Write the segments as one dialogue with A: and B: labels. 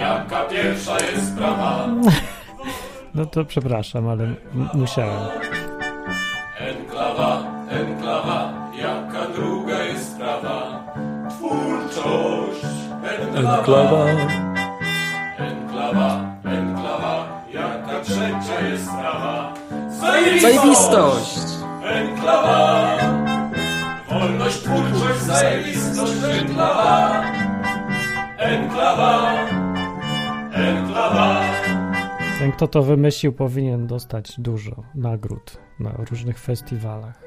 A: Taka pierwsza jest sprawa.
B: No to przepraszam, ale m- musiałem.
A: Enklawa, enklawa, jaka druga jest sprawa. Twórczość, enklawa.
C: Enklawa,
A: Enklawa, enklawa, jaka trzecia jest sprawa.
C: zajebistość!
A: Enklawa! Wolność, twórczość, zajebistność, enklawa! Enklawa! Enklawa!
B: Ten, kto to wymyślił, powinien dostać dużo nagród na różnych festiwalach.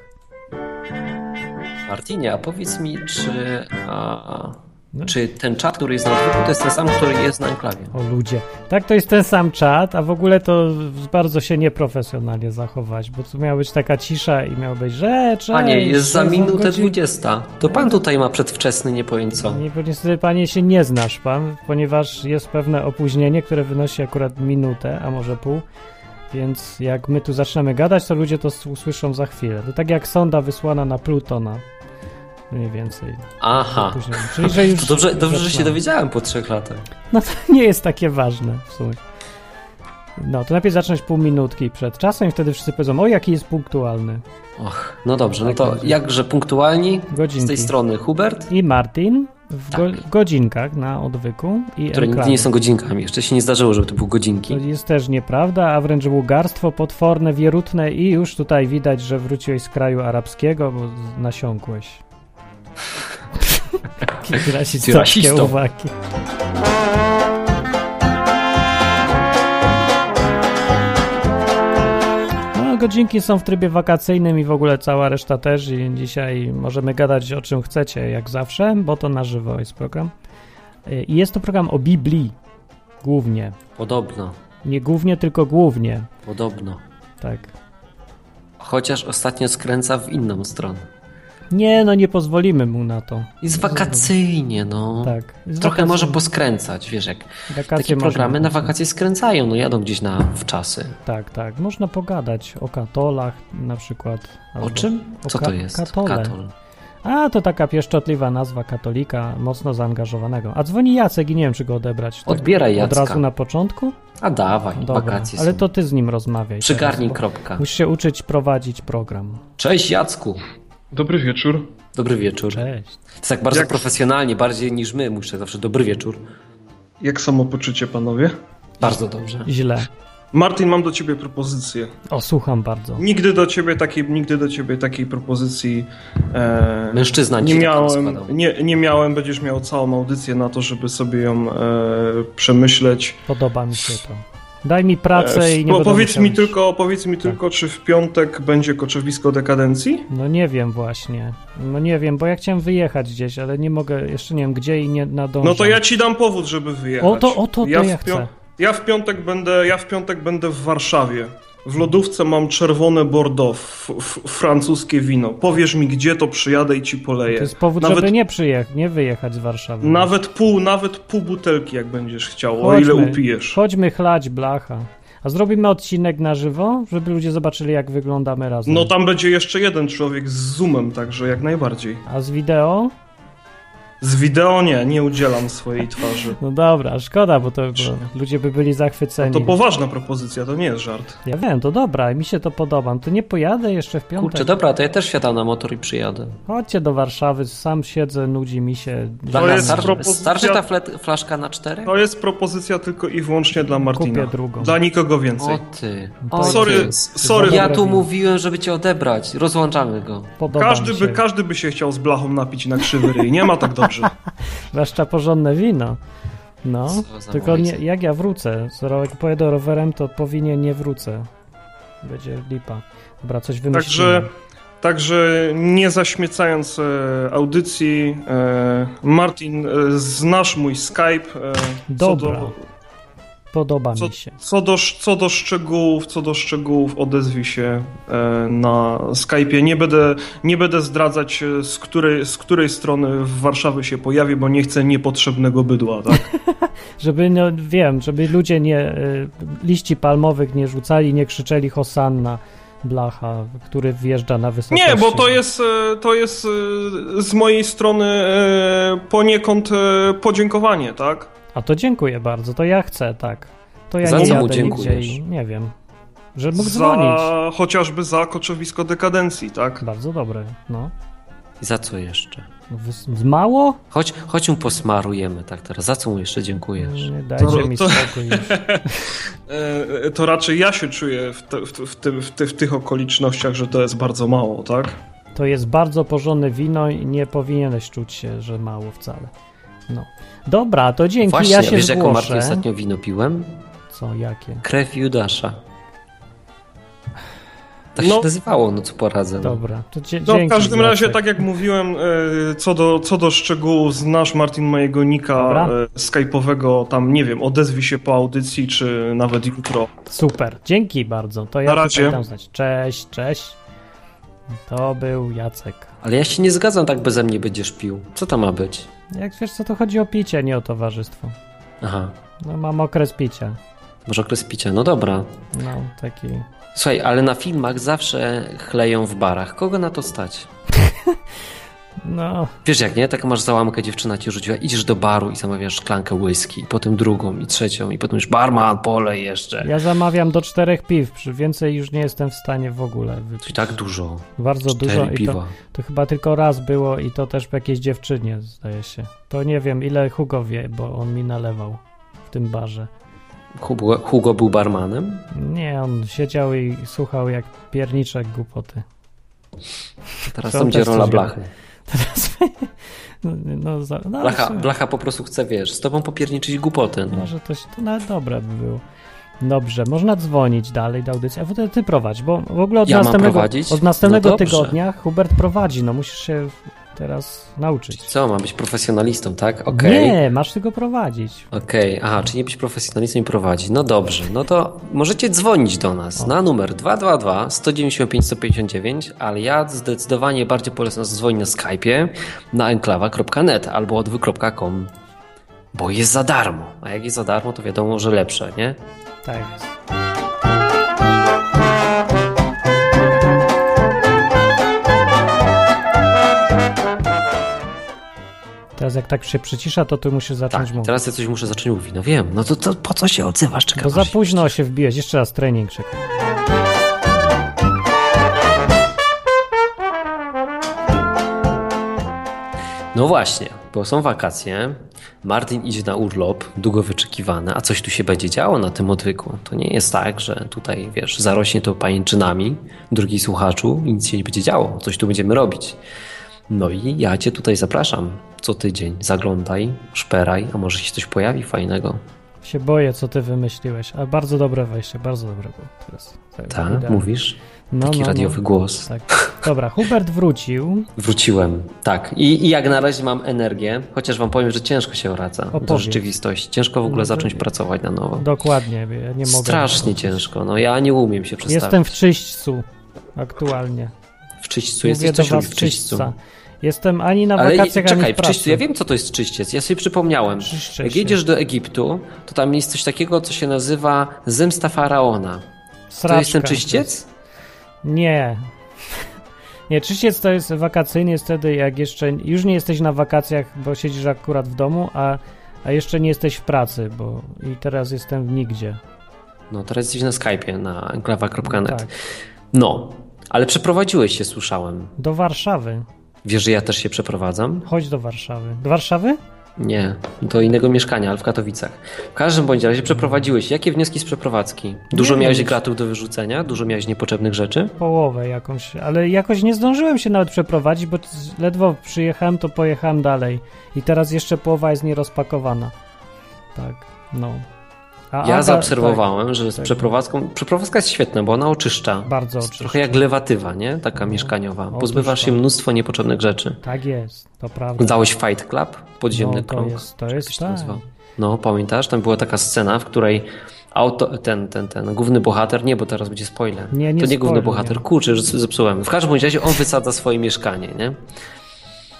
C: Martinie, a powiedz mi, czy, a,
B: No.
C: czy ten czat, który jest na odwyku, to jest ten sam, który jest na enklawie?
B: O ludzie. Tak, to jest ten sam czat, a w ogóle to bardzo się nieprofesjonalnie zachować, bo tu miała być taka cisza i miał być rzecz.
C: Panie,
B: ej,
C: jest za
B: co
C: minutę
B: godzin-
C: 20. To pan tutaj ma przedwczesny, nie powiem co.
B: Nie, bo niestety, panie, się nie znasz pan, ponieważ jest pewne opóźnienie, które wynosi akurat minutę, a może pół. Więc jak my tu zaczniemy gadać, to ludzie to s- usłyszą za chwilę. To tak jak sonda wysłana na Plutona. Mniej więcej.
C: Aha.
B: Później. Czyli, że już
C: To dobrze, dobrze że się
B: zaczynamy.
C: dowiedziałem po trzech latach.
B: No to nie jest takie ważne w sumie. No, to najpierw zacząć pół minutki przed czasem i wtedy wszyscy powiedzą, o jaki jest punktualny.
C: Och, no dobrze, no to
B: Tak będzie.
C: jakże punktualni z tej
B: Godzinki.
C: strony Hubert,
B: I Martin w go-
C: Tak.
B: godzinkach na odwyku i
C: które nigdy
B: reklamie.
C: nie są godzinkami. Jeszcze się nie zdarzyło, żeby to były
B: To
C: godzinki.
B: jest też nieprawda, a wręcz ługarstwo potworne, wierutne i już tutaj widać, że wróciłeś z kraju arabskiego, bo z- nasiąkłeś. Jakie rasistowskie
C: rasistą.
B: uwagi. No, godzinki są w trybie wakacyjnym i w ogóle cała reszta też i dzisiaj możemy gadać o czym chcecie, jak zawsze, bo to na żywo jest program. Y, I jest to program o Biblii, głównie.
C: Podobno,
B: Nie głównie, tylko głównie.
C: podobno.
B: Tak.
C: Chociaż ostatnio skręca w inną stronę.
B: Nie, no nie pozwolimy mu na to.
C: Jest wakacyjnie, no.
B: Tak. Z
C: Trochę
B: wakacji-
C: może poskręcać, wiesz jak.
B: wakacje
C: Takie
B: można-
C: programy na wakacje skręcają, no jadą gdzieś na wczasy.
B: Tak, tak. Można pogadać o katolach na przykład.
C: O
B: albo-
C: czym?
B: o
C: Co
B: ka-
C: to jest?
B: katole. A, to taka pieszczotliwa nazwa katolika, mocno zaangażowanego. A dzwoni Jacek i nie wiem, czy go odebrać. Tak
C: Odbieraj
B: Od
C: Jacka.
B: razu na początku?
C: A dawaj,
B: Dobra,
C: wakacje
B: ale
C: są.
B: to ty z nim rozmawiaj. teraz,
C: Przygarnij
B: bo
C: kropka.
B: Musisz się uczyć prowadzić program.
C: Cześć Jacku.
D: Dobry wieczór.
C: Dobry wieczór.
B: Cześć.
C: To tak bardzo
D: Jak-
C: profesjonalnie, bardziej niż my muszę zawsze. Dobry wieczór.
D: Jak samopoczucie, panowie?
C: Bardzo dobrze.
B: Źle.
D: Martin, mam do ciebie propozycję.
B: O, słucham bardzo.
D: Nigdy do ciebie takiej, nigdy do ciebie takiej propozycji e,
C: Mężczyzna
D: nie
C: ci taką
D: miałem.
C: składał.
D: Nie, nie miałem, będziesz miał całą audycję na to, żeby sobie ją e, przemyśleć.
B: Podoba mi się to. Daj mi pracę
D: E,
B: i nie
D: po-
B: będę
D: powiedz
B: musiał
D: mi
B: iść. Tak.
D: tylko, powiedz mi tylko, czy w piątek będzie koczowisko dekadencji?
B: No nie wiem właśnie. No nie wiem, bo ja chciałem wyjechać gdzieś, ale nie mogę, jeszcze nie wiem gdzie i nie nadążam.
D: No to ja ci dam powód, żeby wyjechać.
B: O to- o to- to ja
D: w
B: chcę.
D: ja w piątek będę, ja w piątek będę w Warszawie. W lodówce mam czerwone Bordeaux, f, f, francuskie wino. Powiesz mi, gdzie to przyjadę i ci poleję.
B: To jest powód,
D: nawet,
B: żeby nie przyjechać, nie wyjechać z Warszawy.
D: nawet pół, nawet pół butelki, jak będziesz chciał, o
B: Chodźmy.
D: ile upijesz.
B: Chodźmy chlać, blacha. A zrobimy odcinek na żywo, żeby ludzie zobaczyli jak wyglądamy razem.
D: No tam będzie jeszcze jeden człowiek z zoomem, także jak najbardziej.
B: A z wideo?
D: Z wideo nie, nie udzielam swojej twarzy.
B: No dobra, szkoda, bo to bo ludzie by byli zachwyceni.
D: No To poważna propozycja, to nie jest żart.
B: Ja wiem, to dobra, mi się to podoba. No To nie pojadę jeszcze w piątek.
C: Kurczę, dobra, to ja też wsiadam na motor i przyjadę.
B: Chodźcie do Warszawy, sam siedzę, nudzi mi się.
C: Dla
D: jest
C: star-
D: propozycja-
C: Starczy ta fle- flaszka na cztery?
D: To jest propozycja tylko i wyłącznie dla Martina.
B: Kupię drugą.
D: Dla nikogo więcej.
C: O ty.
B: To
C: O
B: jest-
D: Sorry,
C: ty.
D: sorry.
C: Ja
B: Dobra,
C: tu
B: wiem.
C: mówiłem, żeby cię odebrać. Rozłączamy go.
B: Podoba
D: Każdy
B: mi się.
D: by, każdy by się chciał z blachą napić na krzywy ryj. Nie ma tak dobrze.
B: Zwłaszcza porządne wino. No,
C: Co za
B: tylko nie,
C: mówice.
B: jak ja wrócę, skoro jak pojedę rowerem, to powinien nie wrócę. Będzie lipa. Dobra, coś wymyślimy.
D: Także, także nie zaśmiecając e, audycji, e, Martin, e, znasz mój Skype. E,
B: Dobra.
D: Co do,
B: Podoba
D: co,
B: mi się.
D: co, do, sz- co do szczegółów, co do szczegółów odezwij się e, na Skype'ie. Nie będę, nie będę zdradzać, e, z której, z której strony w Warszawy się pojawi, bo nie chcę niepotrzebnego bydła, tak?
B: Żeby, no wiem, żeby ludzie nie, y, liści palmowych nie rzucali, nie krzyczeli Hosanna blacha, który wjeżdża na wysokość.
D: Nie, bo to jest, e, to jest e, z mojej strony e, poniekąd e, podziękowanie, tak?
B: A to dziękuję bardzo, to ja chcę, tak. To ja
C: Za
B: nie
C: co mu
B: jadę nigdzie
C: dziękujesz?
B: i nie wiem. Że mógł dzwonić.
D: za, chociażby za koczowisko dekadencji, tak?
B: Bardzo dobre, no.
C: I za co jeszcze?
B: Wys- No, Mało?
C: Chodź, chodź mu posmarujemy tak teraz. Za co mu jeszcze dziękujesz?
B: Nie, dajcie
D: To-
B: mi
D: to-
B: spokój już.
D: E, to raczej ja się czuję w, te, w, w, tym- w, ty, w tych okolicznościach, że to jest bardzo mało, tak?
B: To jest bardzo porządne wino i nie powinieneś czuć się, że mało wcale. No. Dobra, to dzięki,
C: Właśnie,
B: ja się
C: wiesz jaką markę
B: zgłoszę.
C: ostatnio wino piłem?
B: Co, jakie?
C: Krew Judasza. Tak
D: No.
C: się nazywało, no co poradzę. No.
B: Dobra, to dzie-
D: No,
B: dzięki.
D: w każdym
B: za
D: razie,
B: to.
D: tak jak mówiłem, e, co do, co do szczegółów, znasz Martin mojego nika
B: Dobra.
D: e, skype'owego, tam nie wiem, odezwij się po audycji, czy nawet jutro.
B: Super, dzięki bardzo. To ja
D: tak- Na
B: tutaj
D: razie.
B: dam znać. Cześć, cześć. To był Jacek.
C: Ale ja się nie zgadzam, tak beze mnie będziesz pił. Co to ma być?
B: Jak wiesz co, to chodzi o picie, nie o towarzystwo.
C: Aha,
B: No mam okres picia.
C: może okres picia. No dobra.
B: No, taki...
C: Słuchaj, ale na filmach zawsze chleją w barach. Kogo na to stać?
B: No,
C: Wiesz jak, nie? Taką masz załamkę, dziewczyna ci rzuciła, idziesz do baru i zamawiasz szklankę whisky, i potem drugą i trzecią i potem już barman, pole jeszcze.
B: ja zamawiam do czterech piw, przy więcej już nie jestem w stanie w ogóle
C: Czyli
B: wypić.
C: tak dużo.
B: Bardzo dużo
C: Cztery
B: i to,
C: piwa.
B: to chyba tylko raz było i to też po jakiejś dziewczynie, zdaje się. To nie wiem, ile Hugo wie, bo on mi nalewał w tym barze.
C: Hugo, Hugo był barmanem?
B: Nie, on siedział i słuchał jak pierniczek głupoty.
C: Teraz
B: Co
C: tam
B: on
C: gdzie
B: też
C: rola
B: coś
C: blachy.
B: Teraz... No, no, za... no,
C: Blacha,
B: słuchaj.
C: blacha po prostu chce, wiesz, z tobą popierniczyć głupoty. No.
B: Może to, się- to nawet dobre by było. Dobrze, można dzwonić dalej do audycji. A wtedy ty prowadź, bo w ogóle od
C: Ja mam
B: następnego,
C: prowadzić?
B: od następnego
C: No dobrze.
B: tygodnia Hubert prowadzi. No musisz się teraz nauczyć.
C: Co, mam być profesjonalistą, tak? Okej.
B: Nie, masz tylko prowadzić.
C: Okej, aha, czyli nie być profesjonalistą i prowadzić. No dobrze, no to możecie dzwonić do nas na numer 222 195 159, ale ja zdecydowanie bardziej polecam dzwonić na Skype'ie na enklawa.net albo odwy.com, bo jest za darmo. A jak jest za darmo, to wiadomo, że lepsze, nie?
B: Tak jest. Teraz jak tak się przycisza, to ty musisz zacząć
C: Tak,
B: mówić.
C: teraz ja coś muszę zacząć mówić. No wiem, no to, to po co się odzywasz? Czekam,
B: Bo za
C: aż-
B: późno się wbiłeś. Jeszcze raz trening czekaj.
C: No właśnie, bo są wakacje, Martin idzie na urlop, długo wyczekiwany, a coś tu się będzie działo na tym odwyku. To nie jest tak, że tutaj, wiesz, zarośnie to pajęczynami, drugi słuchaczu i nic się nie będzie działo, coś tu będziemy robić. No i ja cię tutaj zapraszam co tydzień, zaglądaj, szperaj, a może się coś pojawi fajnego.
B: Się boję, co ty wymyśliłeś. A bardzo dobre wejście, bardzo dobre było teraz. Tak,
C: Tak,
B: idealnie.
C: mówisz?
B: No,
C: Taki
B: no, no.
C: radiowy głos.
B: Tak. Dobra, Hubert wrócił.
C: Wróciłem, tak. I, I jak na razie mam energię, chociaż wam powiem, że ciężko się wraca do
B: Opowiedz.
C: rzeczywistości. Ciężko w ogóle
B: No,
C: zacząć
B: że-
C: pracować na nowo.
B: Dokładnie, ja nie mogę.
C: Strasznie ciężko, no ja nie umiem się przestawić.
B: Jestem w czyśćcu aktualnie.
C: w czyśćcu,
B: Mówię
C: jesteś
B: do
C: coś
B: was
C: w czyśćcu.
B: czyśćca. Jestem ani na
C: Ale je,
B: wakacjach, ani
C: czekaj,
B: w
C: w
B: pracy.
C: czyśćcu, ja wiem co to jest czyściec, ja sobie przypomniałem.
B: Czyszczę
C: Jak
B: się.
C: jedziesz do Egiptu, to tam jest coś takiego, co się nazywa zemsta faraona.
B: Sraczka.
C: To jest ten czyściec?
B: Nie. Nie, czyściec to jest wakacyjny, jest wtedy jak jeszcze już nie jesteś na wakacjach, bo siedzisz akurat w domu, a, a jeszcze nie jesteś w pracy, bo i teraz jestem w nigdzie.
C: No teraz jesteś na Skype'ie, na enklawa.net.
B: Tak.
C: No, ale przeprowadziłeś się, słyszałem.
B: Do Warszawy.
C: Wiesz, że ja też się przeprowadzam?
B: Chodź do Warszawy. Do Warszawy?
C: Nie, do innego mieszkania, ale w Katowicach. W każdym bądź razie przeprowadziłeś. Jakie wnioski z przeprowadzki? Dużo
B: Nie
C: miałeś
B: wiem.
C: gratów do wyrzucenia? Dużo miałeś niepotrzebnych rzeczy?
B: połowę jakąś, ale jakoś nie zdążyłem się nawet przeprowadzić, bo z- ledwo przyjechałem, to pojechałem dalej. I teraz jeszcze połowa jest nierozpakowana. Tak, no. A
C: Ja
B: Aga-
C: zaobserwowałem, że z
B: tak.
C: przeprowadzką. Przeprowadzka jest świetna, bo ona oczyszcza.
B: Tak, bardzo No,
C: Jest
B: oczywiście.
C: Trochę jak lewatywa, nie? Taka mieszkaniowa.
B: otóż
C: Pozbywasz się
B: to.
C: mnóstwo niepotrzebnych rzeczy.
B: Tak jest, to prawda.
C: Oglądałeś Fight Club? Podziemny
B: No, to
C: krąg.
B: jest- to
C: czy
B: jest
C: jak się
B: tak.
C: nazywa? No, pamiętasz? Tam była taka scena, w której auto, ten, ten, ten główny bohater, nie, bo teraz będzie spoiler.
B: Nie, nie
C: to nie główny
B: spoiler,
C: bohater,
B: nie.
C: kurczę, już zepsułem. W każdym bądź razie on wysadza swoje mieszkanie, nie?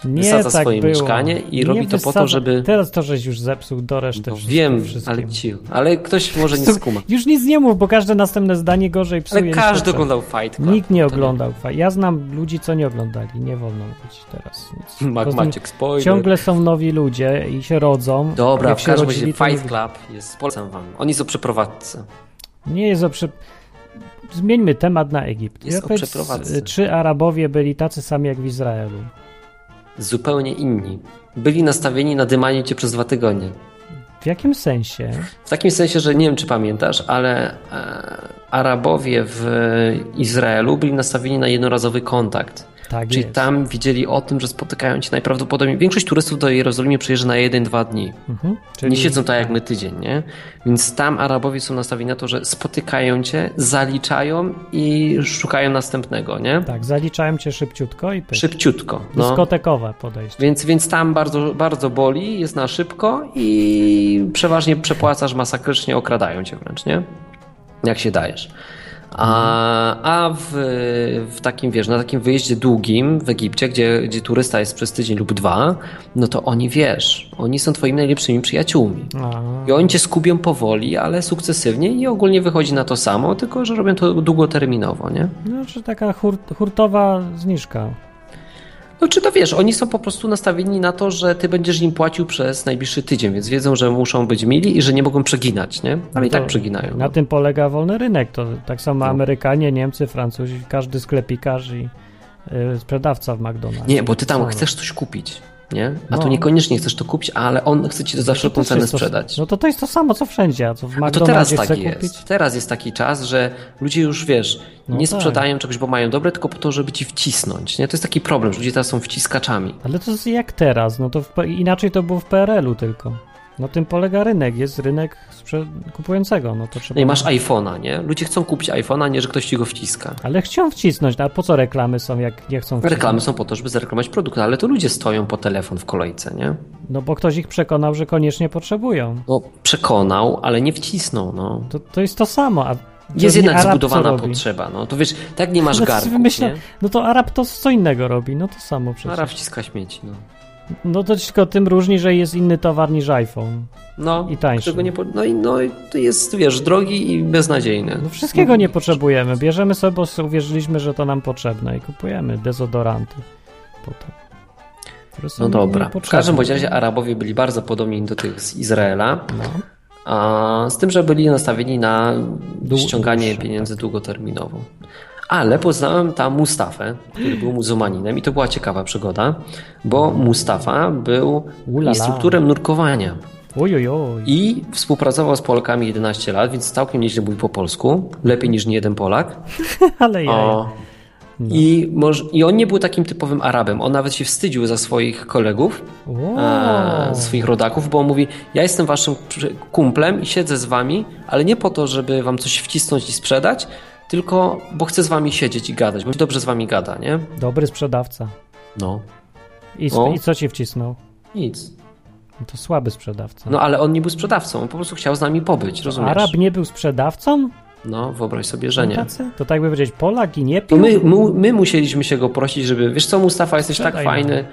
B: Nie
C: wysadza
B: tak
C: swoje
B: było.
C: mieszkanie i
B: Nie
C: robi to po
B: wysadza-
C: to, żeby...
B: Teraz to, żeś już zepsuł do reszty
C: No
B: wszystko,
C: wiem,
B: wszystkim.
C: ale chill. Ale ktoś może nie skuma.
B: Już nic nie mów, bo każde następne zdanie gorzej psuje
C: Ale
B: niż
C: każdy
B: poprzednie.
C: oglądał Fight Club. no
B: Nikt nie
C: To
B: oglądał. fa- Ja znam ludzi, co nie oglądali. Nie wolno mówić teraz nic.
C: Mac
B: Poza tym
C: Maciek, spoiler.
B: Ciągle są nowi ludzie i się rodzą.
C: Dobra,
B: Jak
C: w
B: się
C: każdym
B: rodzili,
C: razie
B: to nie-
C: Fight Club jest, polecam wam. Oni są przeprowadzcy.
B: Nie jest o przy... Zmieńmy temat na Egipt.
C: Jest
B: Ja
C: o
B: powiedz,
C: przeprowadzce.
B: Czy Arabowie byli tacy sami jak w Izraelu?
C: Zupełnie inni. Byli nastawieni na dymanie cię przez dwa tygodnie.
B: W jakim sensie?
C: W takim sensie, że nie wiem, czy pamiętasz, ale e, Arabowie w Izraelu byli nastawieni na jednorazowy kontakt.
B: Tak
C: Czyli
B: jest.
C: tam widzieli o tym, że spotykają się najprawdopodobniej. Większość turystów do Jerozolimy przyjeżdża na jeden, dwa dni.
B: Mhm.
C: Nie siedzą tak jak my tydzień, nie? Więc tam Arabowie są nastawieni na to, że spotykają cię, zaliczają i szukają następnego, nie?
B: Tak, zaliczałem cię szybciutko i pyk.
C: Szybciutko. No.
B: Dyskotekowe podejście.
C: Więc, więc tam bardzo, bardzo boli, jest na szybko i przeważnie przepłacasz masakrycznie, okradają cię wręcz, nie? Jak się dajesz. A, a w, w takim, wiesz, na takim wyjeździe długim w Egipcie, gdzie, gdzie turysta jest przez tydzień lub dwa, no to oni, wiesz, oni są twoimi najlepszymi przyjaciółmi.
B: A,
C: I oni cię skubią powoli, ale sukcesywnie i ogólnie wychodzi na to samo, tylko że robią to długoterminowo, nie?
B: no, czy taka hurt, hurtowa zniżka.
C: No czy to wiesz, oni są po prostu nastawieni na to, że ty będziesz im płacił przez najbliższy tydzień, więc wiedzą, że muszą być mili i że nie mogą przeginać, nie? Ale i
B: To-
C: tak przeginają.
B: Na
C: No.
B: tym polega wolny rynek. To tak samo
C: No.
B: Amerykanie, Niemcy, Francuzi, każdy sklepikarz i y, sprzedawca w McDonald's.
C: Nie, bo ty tam
B: Samo.
C: chcesz coś kupić, nie? A
B: No.
C: tu niekoniecznie chcesz to kupić, ale on chce ci to za
B: To
C: wszelką
B: też
C: cenę
B: jest to-
C: sprzedać.
B: No to to jest to samo, co wszędzie, a co w
C: A to teraz
B: McDonaldzie
C: tak
B: chce
C: jest.
B: kupić.
C: Teraz jest taki czas, że ludzie już wiesz,
B: No
C: nie
B: tak.
C: sprzedają czegoś, bo mają dobre, tylko po to, żeby ci wcisnąć. Nie? To jest taki problem, że ludzie teraz są wciskaczami.
B: Ale to jest jak teraz, no to w, P- inaczej to było w PRL-u tylko. Na tym polega rynek, jest rynek sprze- kupującego, no to trzeba...
C: No i masz iPhone'a, nie? Ludzie chcą kupić iPhone'a, nie że ktoś ci go wciska.
B: Ale chcą wcisnąć, no, a po co reklamy są, jak nie chcą wcisnąć?
C: Reklamy są po to, żeby zareklamować produkt, ale to ludzie stoją po telefon w kolejce, nie?
B: No bo ktoś ich przekonał, że koniecznie potrzebują.
C: No, przekonał, ale nie wcisnął, no.
B: To, to jest to samo, a...
C: Jest
B: to nie
C: jednak
B: Arab, co
C: zbudowana
B: robi.
C: potrzeba, no. To wiesz, tak nie masz
B: Znaczy,
C: garnków,
B: wymyśla-
C: nie?
B: No to Arab to co innego robi, no to samo przecież.
C: Nara wciska śmieci, no.
B: No to tylko tym różni, że jest inny towar niż iPhone.
C: No,
B: I tańszy.
C: którego Nie po... no, i, no i to jest, wiesz, drogi i beznadziejny.
B: No wszystkiego nie potrzebujemy. Bierzemy sobie, bo sobie uwierzyliśmy, że to nam potrzebne i kupujemy dezodoranty potem. które są
C: No dobra. W
B: niepotrzebne.
C: każdym bądź razie Arabowie byli bardzo podobni do tych z Izraela,
B: No.
C: a z tym, że byli nastawieni na
B: Dłu-
C: ściąganie
B: dłuższe, tak.
C: pieniędzy długoterminowo. Ale poznałem tam Mustafę, który był muzułmaninem i to była ciekawa przygoda, bo Mustafa był
B: Ulala.
C: instruktorem nurkowania.
B: Oj, oj, oj.
C: I współpracował z Polakami 11 lat, więc całkiem nieźle mówił po polsku. Lepiej niż niejeden Polak.
B: Ale ja.
C: O.
B: No.
C: I, moż, I on nie był takim typowym Arabem. On nawet się wstydził za swoich kolegów, e, swoich rodaków, bo on mówi: Ja jestem waszym przy- kumplem i siedzę z wami, ale nie po to, żeby wam coś wcisnąć i sprzedać, tylko bo chcę z wami siedzieć i gadać, bo mi się dobrze z wami gada, nie?
B: Dobry sprzedawca.
C: No.
B: I,
C: O.
B: I co ci wcisnął?
C: Nic.
B: No To słaby sprzedawca.
C: No ale on nie był sprzedawcą, on po prostu chciał z nami pobyć, rozumiesz?
B: Arab nie był sprzedawcą?
C: No, wyobraź sobie, że nie.
B: Tacy? To tak by powiedzieć, Polak i nie
C: No
B: pił?
C: my, my, my musieliśmy się go prosić, żeby, wiesz co Mustafa, jesteś tak
B: Sprzedaj nam.
C: fajny,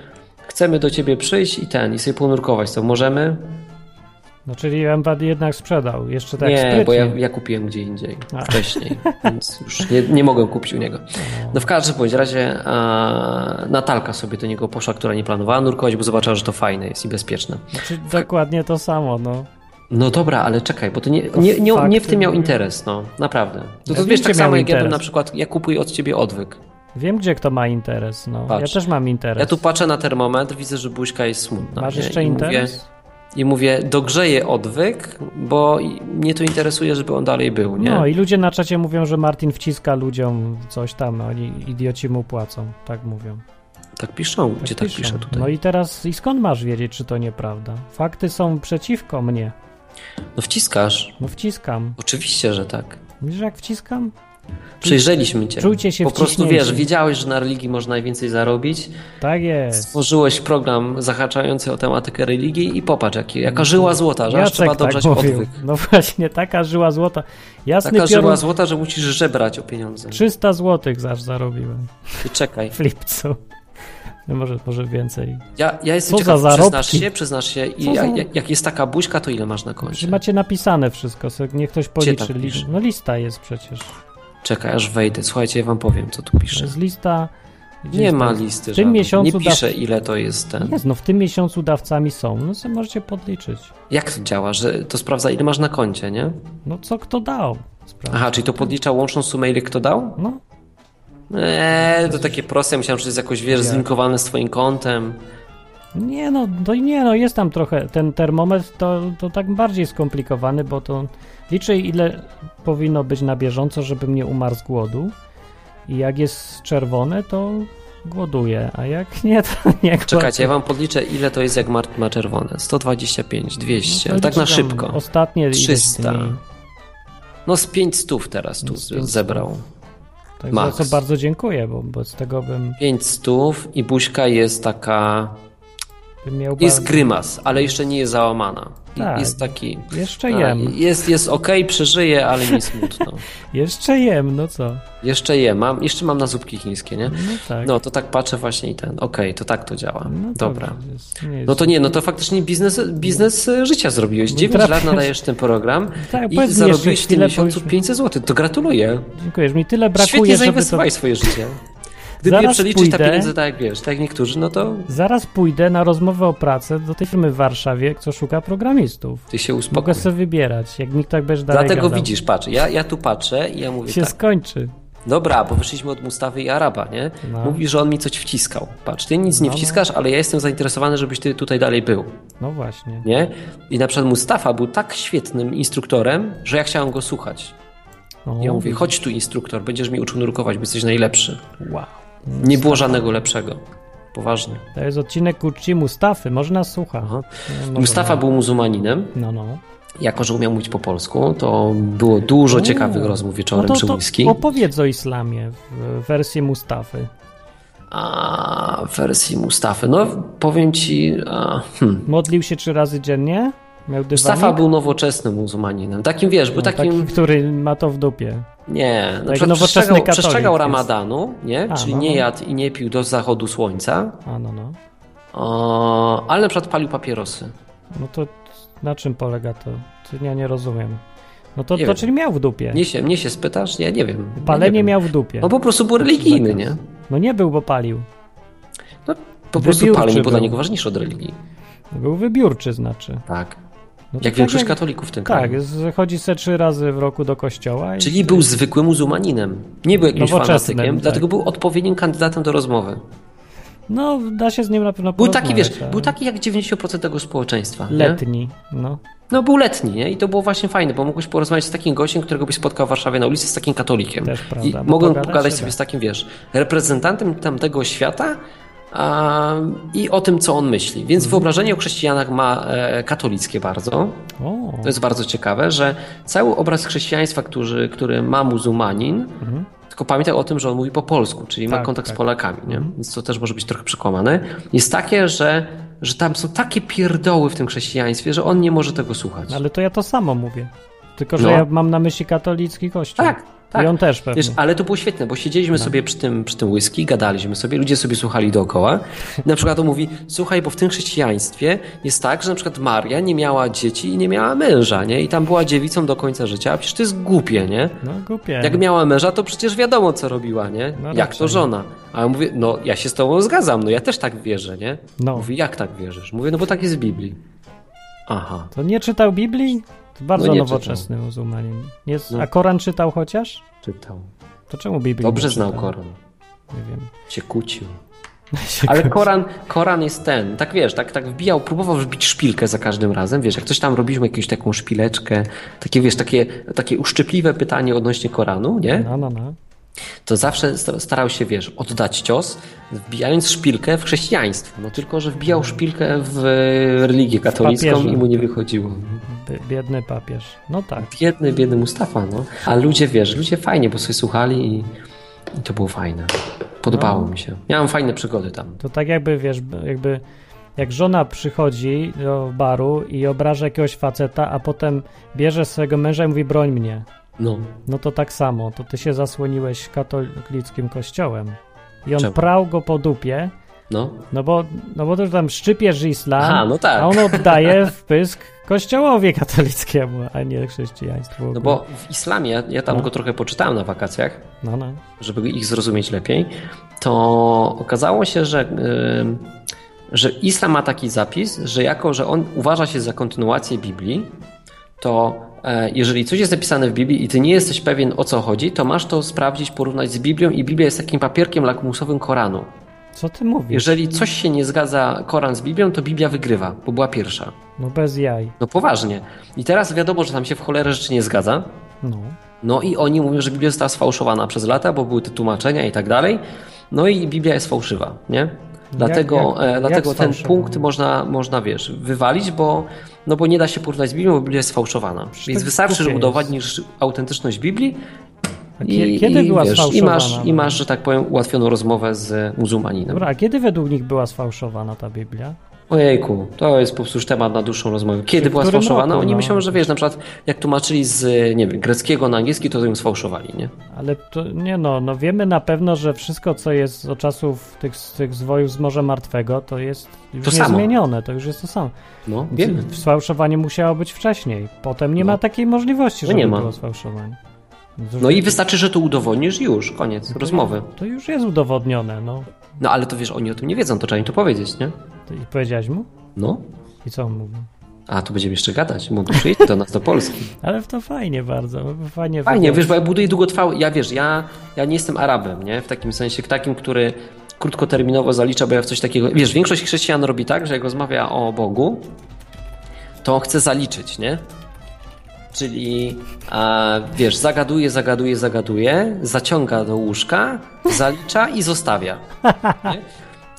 C: chcemy do ciebie przyjść i ten, i sobie ponurkować, to możemy?
B: No czyli Empad jednak sprzedał, jeszcze tak
C: nie,
B: sprytnie.
C: bo ja, ja kupiłem gdzie indziej,
B: A.
C: wcześniej, więc już nie, nie mogłem kupić u niego. No w każdym bądź razie a, Natalka sobie do niego poszła, która nie planowała nurkować, bo zobaczyła, że to fajne jest i bezpieczne.
B: Czy Znaczy, dokładnie to samo, no.
C: No dobra, ale czekaj, bo to nie, nie, nie, nie w
B: fakty
C: tym miał
B: były.
C: interes, no, naprawdę. No to
B: Ja
C: wiesz,
B: wiem,
C: tak
B: gdzie
C: samo
B: miał
C: jak ja bym
B: interes.
C: na przykład, ja kupuję od ciebie odwyk.
B: Wiem, gdzie kto ma interes, no.
C: Patrz.
B: Ja też mam interes.
C: Ja tu patrzę na termometr, widzę, że buźka jest smutna.
B: Masz
C: nie?
B: jeszcze
C: I
B: interes?
C: Mówię, I mówię, dogrzeję odwyk, bo i- mnie to interesuje, żeby on dalej był, nie?
B: No i ludzie na czacie mówią, że Martin wciska ludziom coś tam, a oni idioci mu płacą, tak mówią.
C: Tak piszą, gdzie tak
B: piszą.
C: pisze tutaj.
B: No i teraz, i skąd masz wiedzieć, czy to nieprawda? Fakty są przeciwko mnie.
C: No wciskasz.
B: No wciskam.
C: Oczywiście, że tak.
B: Widzisz, jak wciskam?
C: Przejrzeliśmy cię.
B: czujcie się
C: Po prostu
B: wciśnięci.
C: wiesz, wiedziałeś, że na religii można najwięcej zarobić.
B: Tak jest.
C: Stworzyłeś program zahaczający o tematykę religii i popatrz, jaki, jaka żyła złota, że aż trzeba dogrzać odwyk.
B: tak No właśnie, taka żyła złota. Jasny
C: Taka
B: piorun,
C: żyła złota, że musisz żebrać o pieniądze.
B: 300 złotych zaż zarobiłem
C: Ty czekaj.
B: w lipcu. No Może, może więcej.
C: Ja, ja jestem
B: Co
C: ciekaw,
B: za
C: przyznasz
B: zarobki?
C: się, przyznasz się, i
B: Co za-
C: jak- jak, jak jest taka buźka, to ile masz na koncie?
B: Czy macie napisane wszystko, sobie niech ktoś policzy.
C: tak
B: Li-
C: pisze?
B: no lista jest przecież.
C: Czekaj, aż wejdę. Słuchajcie, ja wam powiem, co tu
B: To
C: pisze.
B: jest lista. gdzie
C: Nie
B: jest
C: ma
B: to?
C: listy
B: W tym
C: żadnej.
B: miesiącu
C: Nie pisze,
B: daw-
C: ile to jest ten.
B: Jest, no w tym miesiącu dawcami są. No sobie możecie podliczyć.
C: Jak to działa? Że to sprawdza, ile masz na koncie, nie?
B: No co kto dał? Sprawdź.
C: Aha, czyli to podlicza łączną sumę, ile kto dał?
B: No,
C: Eee, to takie proste. Myślałem, że to jest jakoś, wiesz, zlinkowane z twoim kontem.
B: nie no, to nie no, jest tam trochę, ten termometr to, to tak bardziej skomplikowany, bo to liczy ile powinno być na bieżąco, żebym nie umarł z głodu i jak jest czerwone, to głoduje, a jak nie, to nie głoduje.
C: Czekajcie, ja wam podliczę, ile to jest, jak Mart ma czerwone. 125, 200,
B: No to
C: ale tak na
B: liczy tam
C: szybko.
B: Ostatnie ileś
C: 300.
B: dni.
C: No z 500 teraz tu
B: Z 500.
C: zebrał.
B: Tak, za
C: Max.
B: co bardzo dziękuję, bo bez tego bym,
C: 500 i buźka jest taka...
B: bym miał
C: Jest
B: bardzo...
C: grymas, ale jeszcze nie jest załamana. I-
B: Tak.
C: Jest taki...
B: Jeszcze
C: A,
B: jem,
C: Jest, jest okej, przeżyję, ale mi smutno.
B: jeszcze jem, no co?
C: Jeszcze je mam, jeszcze mam na zupki chińskie, nie?
B: No tak.
C: No to tak patrzę właśnie i ten. Okej, to tak to działa.
B: No
C: Dobra.
B: dobrze, jest- nie jest
C: No to nie, no to faktycznie biznes, biznes e, życia zrobiłeś. 9 lat
B: trafiasz-
C: nadajesz ten program
B: No Tak, powiedz mi
C: i
B: jeszcze
C: zarobiłeś w tym
B: chwilę,
C: miesiącu
B: powiedzmy.
C: 500 zł. To gratuluję.
B: Dziękuję, że mi tyle
C: Świetnie
B: brakuje, żeby to...
C: zainwestowałeś swoje życie. Gdyby
B: Zaraz
C: je przeliczyć te
B: pójdę.
C: pieniądze tak jak wiesz, tak jak niektórzy, no to
B: Zaraz pójdę na rozmowę o pracę do tej firmy w Warszawie, co szuka programistów.
C: ty się uspokój.
B: Mogę sobie wybierać, jak nikt tak będzie dalej
C: Dlatego
B: gadał.
C: widzisz, patrz, ja, ja tu patrzę i ja mówię
B: Się
C: tak,
B: skończy.
C: dobra, bo wyszliśmy od Mustawy i Araba, nie?
B: No.
C: Mówi, że on mi coś wciskał. Patrz, ty nic nie
B: No, no.
C: wciskasz, ale ja jestem zainteresowany, żebyś ty tutaj dalej był.
B: No właśnie.
C: Nie? I na przykład Mustafa był tak świetnym instruktorem, że ja chciałem go słuchać.
B: No,
C: Ja mówię, chodź tu instruktor, będziesz mi uczył nurkować, bo jesteś najlepszy.
B: Wow.
C: Nie było żadnego lepszego. Poważnie.
B: To jest odcinek Kurci Mustafy, może nas słucha.
C: Aha.
B: Nie, może
C: No Mustafa
B: nie.
C: był muzułmaninem.
B: No, no.
C: Jako, że umiał mówić po polsku, to było dużo ciekawych rozmów wieczorem
B: no
C: przy
B: to,
C: whisky.
B: to opowiedz o islamie w wersji Mustafy.
C: A w wersji Mustafy, no powiem ci, a, hmm.
B: Modlił się trzy razy dziennie? Miał dywanik?
C: Mustafa był nowoczesnym muzułmaninem. Takim, wiesz, był
B: No,
C: takim...
B: taki, który ma to w dupie.
C: Nie, na
B: Taki
C: przykład
B: nowoczesny
C: przestrzegał,
B: katolik
C: przestrzegał
B: jest.
C: ramadanu, nie?
B: A,
C: czyli
B: no,
C: nie
B: no.
C: jadł i nie pił do zachodu słońca,
B: A, no, no.
C: o, ale na przykład palił papierosy.
B: No to na czym polega to? To Ja nie rozumiem. No to,
C: Nie
B: to
C: wiem.
B: czyli miał w dupie.
C: Mnie się, mnie się spytasz? Ja nie wiem. ja nie
B: Palenie
C: wiem.
B: miał w dupie.
C: No po prostu był religijny, nie?
B: No nie był, bo palił.
C: No, po prostu
B: Wybiórczy
C: palenie było dla
B: był.
C: niego ważniejsze od religii.
B: Był wybiórczy, znaczy.
C: Tak.
B: No to
C: Jak
B: tak
C: większość katolików w tym
B: Tak,
C: kraju.
B: z- chodzi se trzy razy w roku do kościoła. I
C: Czyli był zwykłym muzułmaninem. Nie był jakimś
B: Nowoczesnym,
C: fanatykiem,
B: tak.
C: dlatego był odpowiednim kandydatem do rozmowy.
B: No, da się z nim na pewno
C: Był taki,
B: porozmawiać,
C: wiesz,
B: ale-
C: był taki jak 90% tego społeczeństwa. nie?
B: Letni, no.
C: No był letni, nie? I to było właśnie fajne, bo mógłbyś porozmawiać z takim gościem, którego byś spotkał w Warszawie na ulicy, z takim katolikiem.
B: Też prawda,
C: I
B: bo
C: mogłem
B: pogadać
C: pogadać
B: się
C: sobie
B: da.
C: z takim, wiesz, reprezentantem tamtego świata a, i o tym, co on myśli.
B: Mhm.
C: Więc wyobrażenie o chrześcijanach ma e, katolickie bardzo.
B: O,
C: To jest bardzo ciekawe, że cały obraz chrześcijaństwa, który, który ma muzułmanin, tylko pamiętaj o tym, że on mówi po polsku, czyli ma
B: Mhm. Tak,
C: kontakt
B: tak.
C: z Polakami, nie? więc to też może być trochę przekłamane, jest takie, że, że tam są takie pierdoły w tym chrześcijaństwie, że on nie może tego słuchać.
B: ale to ja to samo mówię. Tylko, że
C: No.
B: ja mam na myśli katolicki kościół.
C: Tak, tak.
B: I on też pewnie. No.
C: Wiesz, ale to było świetne, bo siedzieliśmy sobie przy tym, przy tym whisky, gadaliśmy sobie, ludzie sobie słuchali dookoła. I na przykład on mówi, słuchaj, bo w tym chrześcijaństwie jest tak, że na przykład Maria nie miała dzieci i nie miała męża, nie? I tam była dziewicą do końca życia, a przecież to jest głupie, nie?
B: No głupie.
C: Jak miała męża, to przecież wiadomo, co robiła, nie?
B: No
C: jak
B: raczej.
C: to żona. A ja mówię, no ja się z tobą zgadzam, no ja też tak wierzę, nie?
B: No.
C: Mówi, jak tak wierzysz? Mówię, no bo tak jest w Biblii. Aha.
B: To nie czytał Biblii? To bardzo
C: No nie
B: nowoczesny muzułmanin. Jest...
C: No.
B: A Koran czytał chociaż?
C: Czytał.
B: To czemu Biblię
C: Dobrze
B: nie czyta?
C: znał Koran.
B: Nie wiem.
C: Się kłócił. Ale Koran, Koran jest ten, tak wiesz, tak, tak wbijał, próbował wbić szpilkę za każdym razem, wiesz, jak coś tam robiliśmy, jakąś taką szpileczkę, takie, wiesz, takie, takie uszczypliwe pytanie odnośnie Koranu, nie?
B: No, no, no.
C: To zawsze sta- starał się, wiesz, oddać cios, wbijając szpilkę w chrześcijaństwo, no tylko, że wbijał szpilkę w e, religię katolicką
B: papieża.
C: i mu nie wychodziło.
B: Bi- Biedny papież. No tak.
C: Biedny, biedny Mustafa, no. A ludzie, wiesz, ludzie fajnie, bo sobie słuchali i, i to było fajne. Podobało
B: No.
C: mi się. Miałem fajne przygody tam.
B: To tak jakby, wiesz, b- jakby jak żona przychodzi do baru i obraża jakiegoś faceta, a potem bierze swojego męża i mówi broń mnie.
C: No,
B: No to tak samo, to ty się zasłoniłeś katolickim kościołem. I on
C: Czemu?
B: prał go po dupie,
C: No.
B: No bo, no bo to tam szczypierz islam,
C: Aha, no tak.
B: a on oddaje w pysk kościołowi katolickiemu, a nie chrześcijaństwu.
C: No bo w islamie, ja tam
B: Mhm. No.
C: go trochę poczytałem na wakacjach,
B: No, no.
C: żeby ich zrozumieć lepiej, to okazało się, że, ym, że islam ma taki zapis, że jako, że on uważa się za kontynuację Biblii, to e, jeżeli coś jest napisane w Biblii i ty nie jesteś pewien o co chodzi, to masz to sprawdzić, porównać z Biblią i Biblia jest takim papierkiem lakmusowym Koranu.
B: Co ty mówisz?
C: Jeżeli coś się nie zgadza Koran z Biblią, to Biblia wygrywa, bo była pierwsza.
B: No bez jaj.
C: No poważnie. I teraz wiadomo, że tam się w cholerę rzeczy nie zgadza,
B: No.
C: no i oni mówią, że Biblia została sfałszowana przez lata, bo były te tłumaczenia i tak dalej. No i Biblia jest fałszywa, nie? Dlatego,
B: Jak- jak-
C: e,
B: jak
C: dlatego ten
B: sfałszowana?
C: punkt można, można, wiesz, wywalić, bo, no bo nie da się porównać z Biblią, bo Biblia jest sfałszowana. Więc
B: to
C: wystarczy, że
B: głupie
C: udowodnisz autentyczność Biblii
B: A kie-
C: i,
B: kiedy
C: i,
B: była
C: wiesz, i,
B: sfałszowana?
C: masz, i masz, że tak powiem, ułatwioną rozmowę z muzułmaninem.
B: Dobra, a kiedy według nich była sfałszowana ta Biblia?
C: Ojejku, to jest po prostu już temat na dłuższą rozmowę. Kiedy
B: W
C: była
B: którym
C: sfałszowana?
B: roku,
C: Oni
B: no?
C: myślą, że wiesz, na przykład jak tłumaczyli z, nie wiem, greckiego na angielski, to ją sfałszowali, nie?
B: Ale to, nie no, no wiemy na pewno, że wszystko co jest od czasów tych, tych zwojów z Morza Martwego to jest już
C: To samo.
B: niezmienione, to już jest to samo.
C: No, wiemy.
B: Sfałszowanie musiało być wcześniej. Potem nie
C: No.
B: ma takiej możliwości,
C: No
B: żeby
C: nie ma.
B: było sfałszowanie. to
C: No
B: już-
C: i wystarczy, że to udowodnisz i już, koniec rozmowy.
B: To już jest udowodnione, no.
C: No ale to wiesz, oni o tym nie wiedzą, to trzeba im to powiedzieć, nie?
B: Ty- I powiedziałeś mu?
C: No.
B: I co on mówił?
C: A tu będziemy jeszcze gadać, mogą przyjść do nas, do Polski.
B: Ale w to fajnie bardzo, fajnie.
C: Fajnie, wiesz, bo ja buduję długotrwałe, ja wiesz, ja, ja nie jestem Arabem, nie? W takim sensie, takim, który krótkoterminowo zalicza, bo ja w coś takiego, wiesz, większość chrześcijan robi tak, że jak rozmawia o Bogu, to chce zaliczyć, nie? Czyli, a, wiesz, zagaduje, zagaduje, zagaduje, zaciąga do łóżka, zalicza i zostawia. Nie?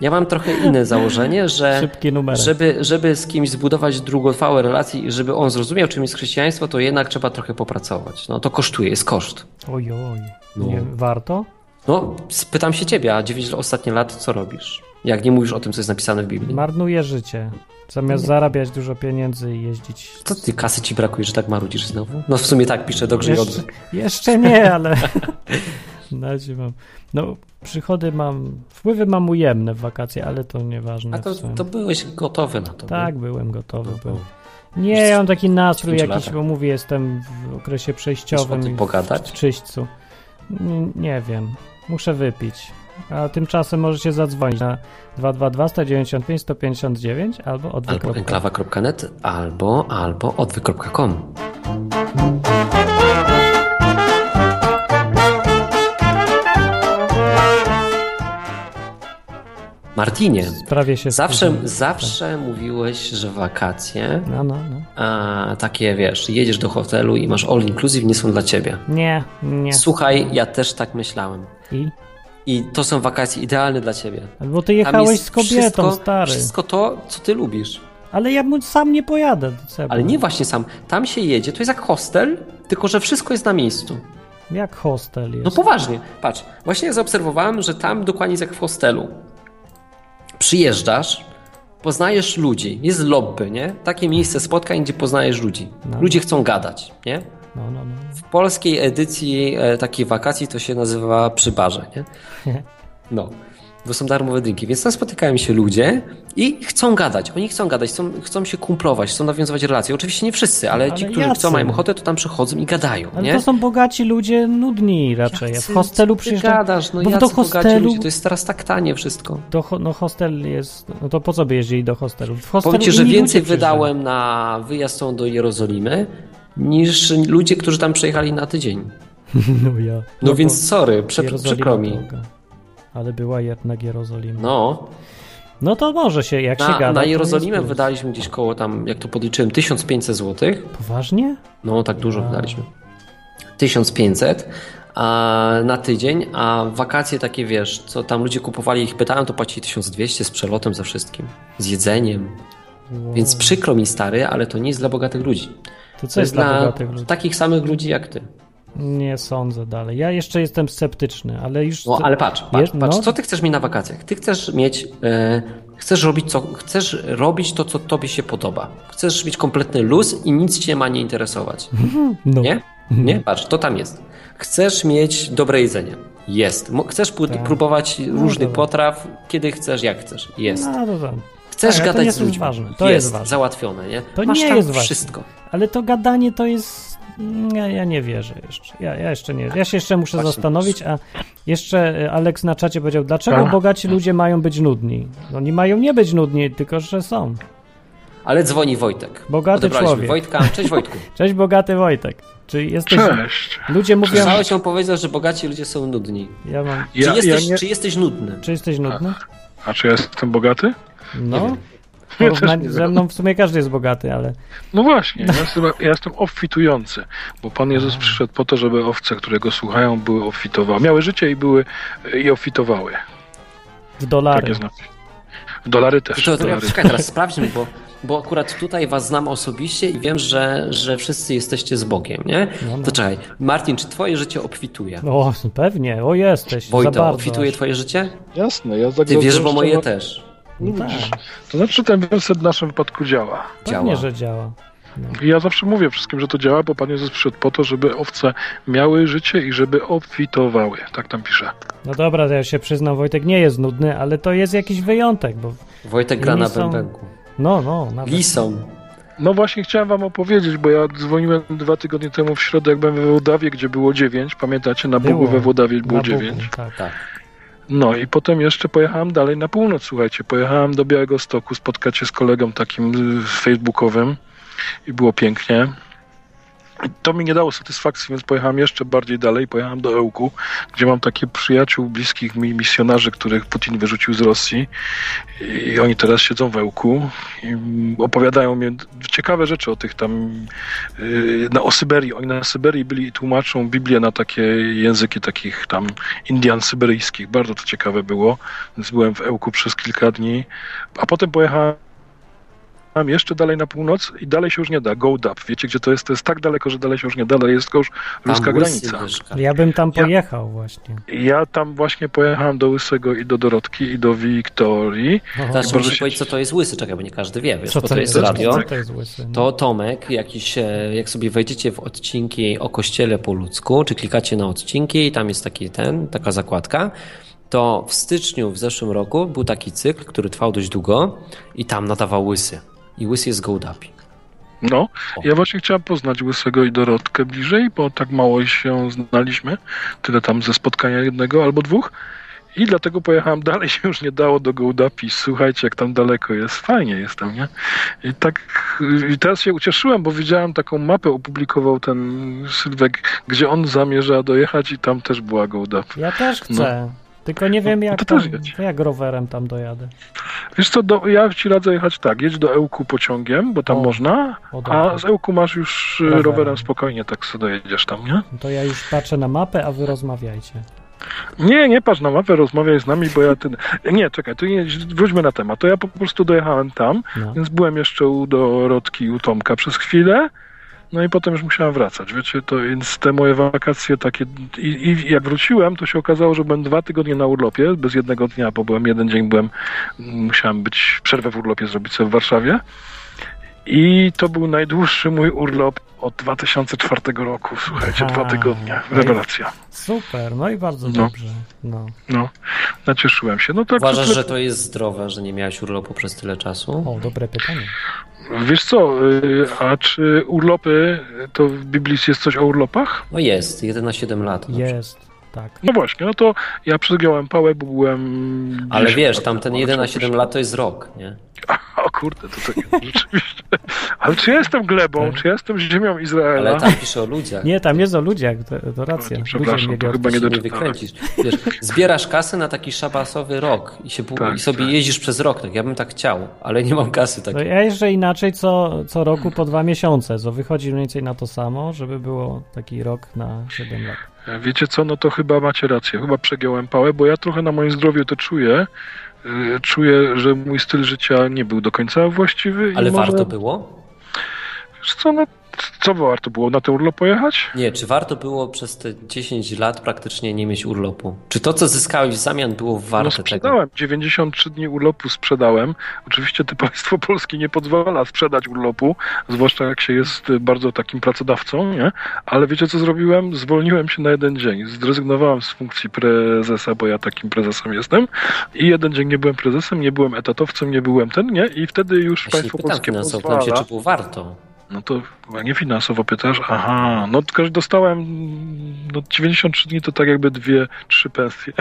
C: Ja mam trochę inne założenie, że
B: Szybki numerek.
C: żeby, żeby z kimś zbudować długotrwałe relacje i żeby on zrozumiał, czym jest chrześcijaństwo, to jednak trzeba trochę popracować. No to kosztuje, jest koszt.
B: Oj, oj.
C: No.
B: Nie, warto?
C: No, spytam się ciebie, a 9 ostatnie lat co robisz? Jak nie mówisz o tym, co jest napisane w Biblii?
B: Marnuje życie. Zamiast zarabiać dużo pieniędzy i jeździć.
C: Co ty, kasy ci brakuje, że tak marudzisz znowu? No w sumie tak pisze, dobrze i
B: jeszcze,
C: dobrze.
B: jeszcze nie, ale. Na razie mam. No, przychody mam. Wpływy mam ujemne w wakacje, ale to nieważne.
C: A to,
B: w sumie.
C: to byłeś gotowy na to.
B: Tak, byłem gotowy.
C: No,
B: byłem.
C: no.
B: Nie, ja mam taki nastrój
C: pięciu
B: jakiś,
C: latach.
B: bo mówię, jestem w okresie przejściowym.
C: Chcesz o tym
B: i w-
C: pogadać?
B: W czyśćcu. N- Nie wiem. Muszę wypić. A tymczasem możecie zadzwonić na 222 195 159 albo
C: Albo
B: odwyk.net.
C: enklawa.net, albo, albo odwyk.com. Martinie,
B: Prawie się
C: zawsze,
B: skupiłem.
C: zawsze mówiłeś, że wakacje,
B: No, no, no.
C: a, takie wiesz, jedziesz do hotelu i masz all inclusive, nie są dla ciebie.
B: Nie, nie.
C: Słuchaj, ja też tak myślałem.
B: I?
C: I to są wakacje idealne dla ciebie.
B: Bo ty
C: Tam
B: jechałeś
C: jest
B: z kobietą,
C: wszystko,
B: stary.
C: Wszystko to, co ty lubisz.
B: Ale ja mu sam nie pojadę. do Seba.
C: Ale nie właśnie sam. Tam się jedzie, to jest jak hostel, tylko że wszystko jest na miejscu.
B: Jak hostel jest.
C: No poważnie, patrz. Właśnie zaobserwowałem, że tam dokładnie jest jak w hostelu. Przyjeżdżasz, poznajesz ludzi. Jest lobby, nie? Takie miejsce spotkań, gdzie poznajesz ludzi.
B: No.
C: Ludzie chcą gadać, nie?
B: no, no, no.
C: W polskiej edycji e, takiej wakacji to się nazywa przy barze, nie? No. Bo są darmowe drinki, więc tam spotykają się ludzie i chcą gadać. Oni chcą gadać, chcą, chcą się kumplować, chcą nawiązywać relacje. Oczywiście nie wszyscy, ale,
B: Ale
C: ci, którzy
B: jacy?
C: chcą, mają ochotę, to tam przychodzą i gadają,
B: Ale
C: nie?
B: to są bogaci ludzie, nudni raczej.
C: Jacy-
B: w hostelu
C: co ty
B: przyjeżdżają...
C: gadasz, no
B: bo
C: jacy
B: do
C: bogaci
B: hostelu-
C: ludzie, to jest teraz tak tanie wszystko.
B: Do ho- no hostel jest... No to po co by jeździli do hostelu? W hostelu
C: Powiem ci, że
B: inni ludzie
C: więcej
B: przyjeżdżają.
C: wydałem na wyjazd tą do Jerozolimy niż ludzie, którzy tam przejechali na tydzień.
B: No, ja.
C: No,
B: bo
C: więc sorry, prze,
B: Jerozolima
C: przykro mi.
B: droga. Ale była jednak Jerozolima. No,
C: No,
B: to może się, jak się
C: na,
B: gada.
C: na
B: to
C: Jerozolimę
B: jest plus.
C: wydaliśmy gdzieś koło tam, jak to podliczyłem, 1500 zł.
B: Poważnie?
C: No, tak dużo
B: Wow.
C: wydaliśmy. 1500 a, na tydzień, a wakacje takie, wiesz, co tam ludzie kupowali, ich pytałem, to płacili 1200 z przelotem za wszystkim, z jedzeniem.
B: Wow.
C: Więc przykro mi, stary, ale to nie jest dla bogatych ludzi.
B: To co jest dla bogatych ludzi?
C: takich samych ludzi jak ty.
B: Nie sądzę dalej. Ja jeszcze jestem sceptyczny, ale już...
C: No, ale patrz, patrz,
B: Wiesz,
C: patrz
B: no.
C: co ty chcesz mieć na wakacjach? Ty chcesz mieć, e, chcesz robić co, chcesz robić to, co tobie się podoba. Chcesz mieć kompletny luz i nic cię ma nie interesować.
B: no.
C: Nie? Nie? Patrz, to tam jest. Chcesz mieć dobre jedzenie. Jest. Mo- Chcesz pó-
B: Tak.
C: próbować różnych
B: dobra.
C: potraw, kiedy chcesz, jak chcesz. Jest.
B: A, to tam.
C: Chcesz
B: Tak, ale to
C: gadać
B: nie
C: z
B: jest
C: ludźmi.
B: ważne. To jest ważne.
C: załatwione, nie?
B: To
C: Masz
B: nie
C: tam
B: jest ważne.
C: wszystko.
B: Ale to gadanie to jest. Ja, ja nie wierzę jeszcze. Ja, ja jeszcze nie. Ja się jeszcze muszę
C: Właśnie.
B: zastanowić, a jeszcze y, Aleks na czacie powiedział,
C: Tak.
B: dlaczego bogaci ludzie mają być nudni? No, Oni mają nie być nudni, tylko że są.
C: Ale dzwoni Wojtek.
B: Bogaty
C: Odebraliśmy
B: człowiek.
C: Wojtka. Cześć Wojtku.
B: Cześć, bogaty Wojtek. Czyli jesteś.
E: Cześć.
B: Ludzie mówią.
C: Słyszałeś, on powiedział, że bogaci ludzie są nudni.
B: Ja mam.
C: Czy,
E: Ja, ja
C: jesteś,
E: nie...
C: czy jesteś nudny?
B: Czy jesteś nudny?
E: A czy ja jestem bogaty?
B: No. W
E: Ja też
B: porównaniu
E: nie
B: ze
E: wiem.
B: mną w sumie każdy jest bogaty, ale.
E: No właśnie, ja jestem, ja jestem obfitujący, bo Pan Jezus przyszedł po to, żeby owce, które go słuchają, były obfitowały. Miały życie i były e, i obfitowały.
B: W
E: Tak
B: dolary.
E: jest napis. Dolary
C: To,
E: też.
C: to, to,
E: dolary.
C: czekaj, teraz sprawdźmy, bo, bo akurat tutaj was znam osobiście i wiem, że, że wszyscy jesteście z Bogiem, nie?
B: No, no.
C: To czekaj, Martin, czy twoje życie obfituje?
B: O, pewnie, o jesteś. za
C: Wojto,
B: bardzo.
C: obfituje twoje życie?
E: Jasne, ja tak
C: Ty wiesz, bo moje też.
B: No tak,
E: To znaczy ten werset w naszym wypadku działa.
B: pewnie,
C: działa.
B: że działa.
E: I ja zawsze mówię wszystkim, że to działa, bo Pan Jezus przyszedł po to, żeby owce miały życie i żeby obfitowały. Tak tam pisze.
B: No dobra, to ja się przyznam, Wojtek nie jest nudny, ale to jest jakiś wyjątek, bo.
C: Wojtek gra
B: Inni
C: na
B: są-
C: bębenku.
B: No, no, nawet.
C: Lisą.
E: No właśnie chciałem wam opowiedzieć, bo ja dzwoniłem dwa tygodnie temu w środę, jak byłem we Włodawie, gdzie było 9, pamiętacie? Na
B: Było.
E: Bugu we Włodawie
B: Na
E: było
B: Bogu,
E: 9.
B: tak.
C: Tak.
E: No i potem jeszcze pojechałem dalej na północ, słuchajcie. Pojechałem do Białego Stoku, spotkać się z kolegą takim y, facebookowym i było pięknie. I To mi nie dało satysfakcji, więc pojechałem jeszcze bardziej dalej. Pojechałem do Ełku, gdzie mam takich przyjaciół, bliskich mi misjonarzy, których Putin wyrzucił z Rosji. I oni teraz siedzą w Ełku i mm, opowiadają mi ciekawe rzeczy o tych tam yy, na, o Syberii. Oni na Syberii byli i tłumaczą Biblię na takie języki takich tam Indian syberyjskich. Bardzo to ciekawe było. Więc byłem w Ełku przez kilka dni, a potem pojechałem jeszcze dalej na północ i dalej się już nie da. Goldap. Wiecie, gdzie to jest? To jest tak daleko, że dalej się już nie da. Dalej jest tylko już ruska
C: Tam łysy
E: granica.
C: dyszka.
B: Ja bym tam
E: Ja-
B: pojechał właśnie.
E: Ja tam właśnie pojechałem do Łysego i do Dorotki i do Wiktorii.
B: No,
C: Teraz
E: Boże,
C: muszę
E: się- Tak,
C: powiedzieć, co to jest łysy, czekaj, bo nie każdy wie, wiesz,
B: co
C: bo to jest
E: jest?
C: radio.
B: Co to jest łysy?
C: To Tomek, jakiś, e, jak sobie wejdziecie w odcinki o kościele po ludzku, czy klikacie na odcinki i tam jest taki ten, taka zakładka, to w styczniu w zeszłym roku był taki cykl, który trwał dość długo i tam nadawał Łysy. I Łysy jest Gołdapi.
E: No,
C: O.
E: ja właśnie chciałem poznać Łysego i Dorotkę bliżej, bo tak mało się znaliśmy, tyle tam ze spotkania jednego albo dwóch i dlatego pojechałem dalej, się już nie dało do Gołdapi. Słuchajcie, jak tam daleko jest, fajnie jest tam, nie? I tak, i teraz się ucieszyłem, bo widziałem taką mapę, opublikował ten Sylwek, gdzie on zamierza dojechać i tam też była Gołdap.
B: Ja też chcę. Tylko nie wiem,
E: No,
B: jak,
E: to
B: tam,
E: też jedź.
B: to jak rowerem tam dojadę.
E: Wiesz co, do, ja ci radzę jechać tak, jedź do Ełku pociągiem, bo tam
B: O.
E: można,
B: O, dobra.
E: a z Ełku masz już e,
B: Rowerem.
E: rowerem spokojnie, tak sobie dojedziesz tam, nie?
B: To ja już patrzę na mapę, a wy rozmawiajcie.
E: Nie, nie patrz na mapę, rozmawiaj z nami, bo ja ten. Nie, czekaj, tu nie, wróćmy na temat. To ja po prostu dojechałem tam,
B: No.
E: więc byłem jeszcze u Dorotki i u Tomka przez chwilę. No i potem już musiałem wracać, wiecie, to więc te moje wakacje takie i, i jak wróciłem, to się okazało, że byłem dwa tygodnie na urlopie, bez jednego dnia, bo byłem jeden dzień, byłem, musiałem być, przerwę w urlopie zrobić sobie w Warszawie i to był najdłuższy mój urlop od 2004 roku, słuchajcie, dwa
B: A,
E: tygodnie,
B: no i-
E: rewelacja,
B: Super, no i bardzo
E: No.
B: dobrze. No.
E: no, nacieszyłem się. No tak,
C: Uważasz,
E: tyle-
C: że to jest zdrowe, że nie miałeś urlopu przez tyle czasu?
B: O, dobre pytanie.
E: Wiesz co, y, a czy urlopy, to w Biblii jest coś o urlopach?
C: No jest, 1 na 7 lat. na przykład.
B: Jest, tak.
E: No właśnie, no to ja przegiąłem pałę, bo byłem...
C: Ale
E: gdzieś-
C: wiesz, tam ten 1 na 7 lat to jest rok, nie?
E: O kurde, to, to rzeczywiście. Ale czy ja jestem glebą, czy ja jestem ziemią Izraela?
C: Tak. Ale tam pisze o ludziach.
B: Nie, tam jest o ludziach, to, to racja.
E: Nie,
B: Ludzie
E: przepraszam,
B: mnie
E: to
B: biorą.
E: chyba nie
C: się nie
E: doczytałem.
C: wykręcisz. Wiesz, zbierasz kasę na taki szabasowy rok i, się, bu-
E: Tak,
C: i sobie
E: tak.
C: jeździsz przez rok. Tak, ja bym tak chciał, ale nie mam kasy tak.
B: No
C: takiej.
B: ja jeszcze inaczej co, co roku po dwa miesiące, co wychodzi mniej więcej na to samo, żeby było taki rok na 7 lat.
E: Wiecie co, no to chyba macie rację, chyba przegiąłem pałę, bo ja trochę na moim zdrowiu to czuję. Y, Czuję, że mój styl życia nie był do końca właściwy. i
C: Ale
E: może-
C: warto było?
E: Wiesz co, no co warto było na ten urlop pojechać?
C: Nie, czy warto było przez te 10 lat praktycznie nie mieć urlopu? Czy to, co zyskałeś w zamian, było
E: no
C: warte tego?
E: sprzedałem, 93 dni urlopu sprzedałem. Oczywiście to państwo polskie nie pozwala sprzedać urlopu, zwłaszcza jak się jest y, bardzo takim pracodawcą, nie? Ale wiecie co zrobiłem? Zwolniłem się na jeden dzień. Zrezygnowałem z funkcji prezesa, bo ja takim prezesem jestem. I jeden dzień nie byłem prezesem, nie byłem etatowcem, nie byłem ten, nie? I wtedy już
C: Ja się nie
E: państwo
C: pytam
E: polskie
C: finansowo,
E: pozwala.
C: pytam się, czy było warto.
E: No to chyba nie finansowo pytasz. Aha, no tylko że dostałem no 93 dni to tak jakby dwie, trzy pensje.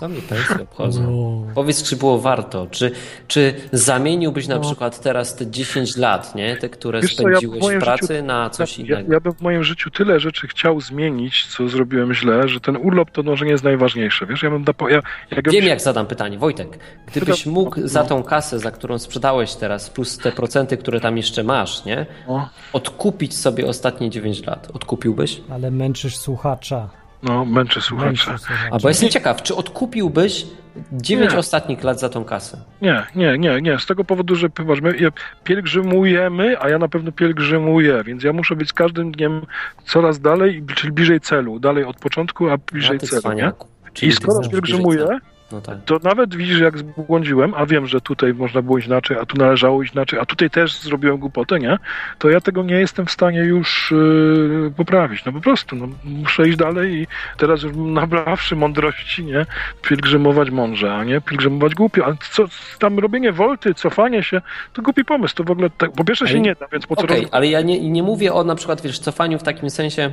C: Co mi pensje obchodzą?
E: No.
C: Powiedz, czy było warto? Czy, czy zamieniłbyś na
E: No.
C: przykład teraz te 10 lat, nie? te, które
E: Wiesz co, ja
C: spędziłeś
E: w moim
C: w pracy,
E: życiu-
C: na coś
E: ja,
C: innego?
E: ja bym w moim życiu tyle rzeczy chciał zmienić, co zrobiłem źle, że ten urlop to może nie jest najważniejsze. Wiesz, ja bym da, ja, ja bym
C: Wiem,
E: się-
C: jak zadam pytanie. Wojtek, gdybyś
E: Pytam-
C: mógł za
E: no.
C: tą kasę, za którą sprzedałeś teraz, plus te procenty, które tam jeszcze masz, nie?
E: No,
C: odkupić sobie ostatnie 9 lat, odkupiłbyś?
B: Ale męczysz słuchacza.
E: no męczę słuchacza.
B: Męczysz słuchacza.
C: A bo jestem ciekaw, czy odkupiłbyś 9
E: Nie.
C: ostatnich lat za tą kasę?
E: Nie, nie, nie, nie. Z tego powodu, że popatrz, my je- pielgrzymujemy, a ja na pewno pielgrzymuję, więc ja muszę być z każdym dniem coraz dalej, czyli bliżej celu. Dalej od początku, a bliżej
C: A ty
E: celu. Nie?
C: cwaniaku. Czyli ty
E: I skoro
C: chcesz bliżej
E: pielgrzymuję,
C: celu. No tak.
E: to nawet widzisz, jak zbłądziłem, a wiem, że tutaj można było inaczej, a tu należało inaczej, a tutaj też zrobiłem głupotę, nie? To ja tego nie jestem w stanie już yy, poprawić. No po prostu, no, muszę iść dalej i teraz już nabrawszy mądrości, nie? Pielgrzymować mądrze, a nie pielgrzymować głupio. A co tam robienie wolty, cofanie się, to głupi pomysł. To w ogóle, tak, po pierwsze się
C: Ale-
E: nie da, więc po co
C: Okej,
E: roz-
C: ale ja nie, nie mówię o na przykład, wiesz, cofaniu w takim sensie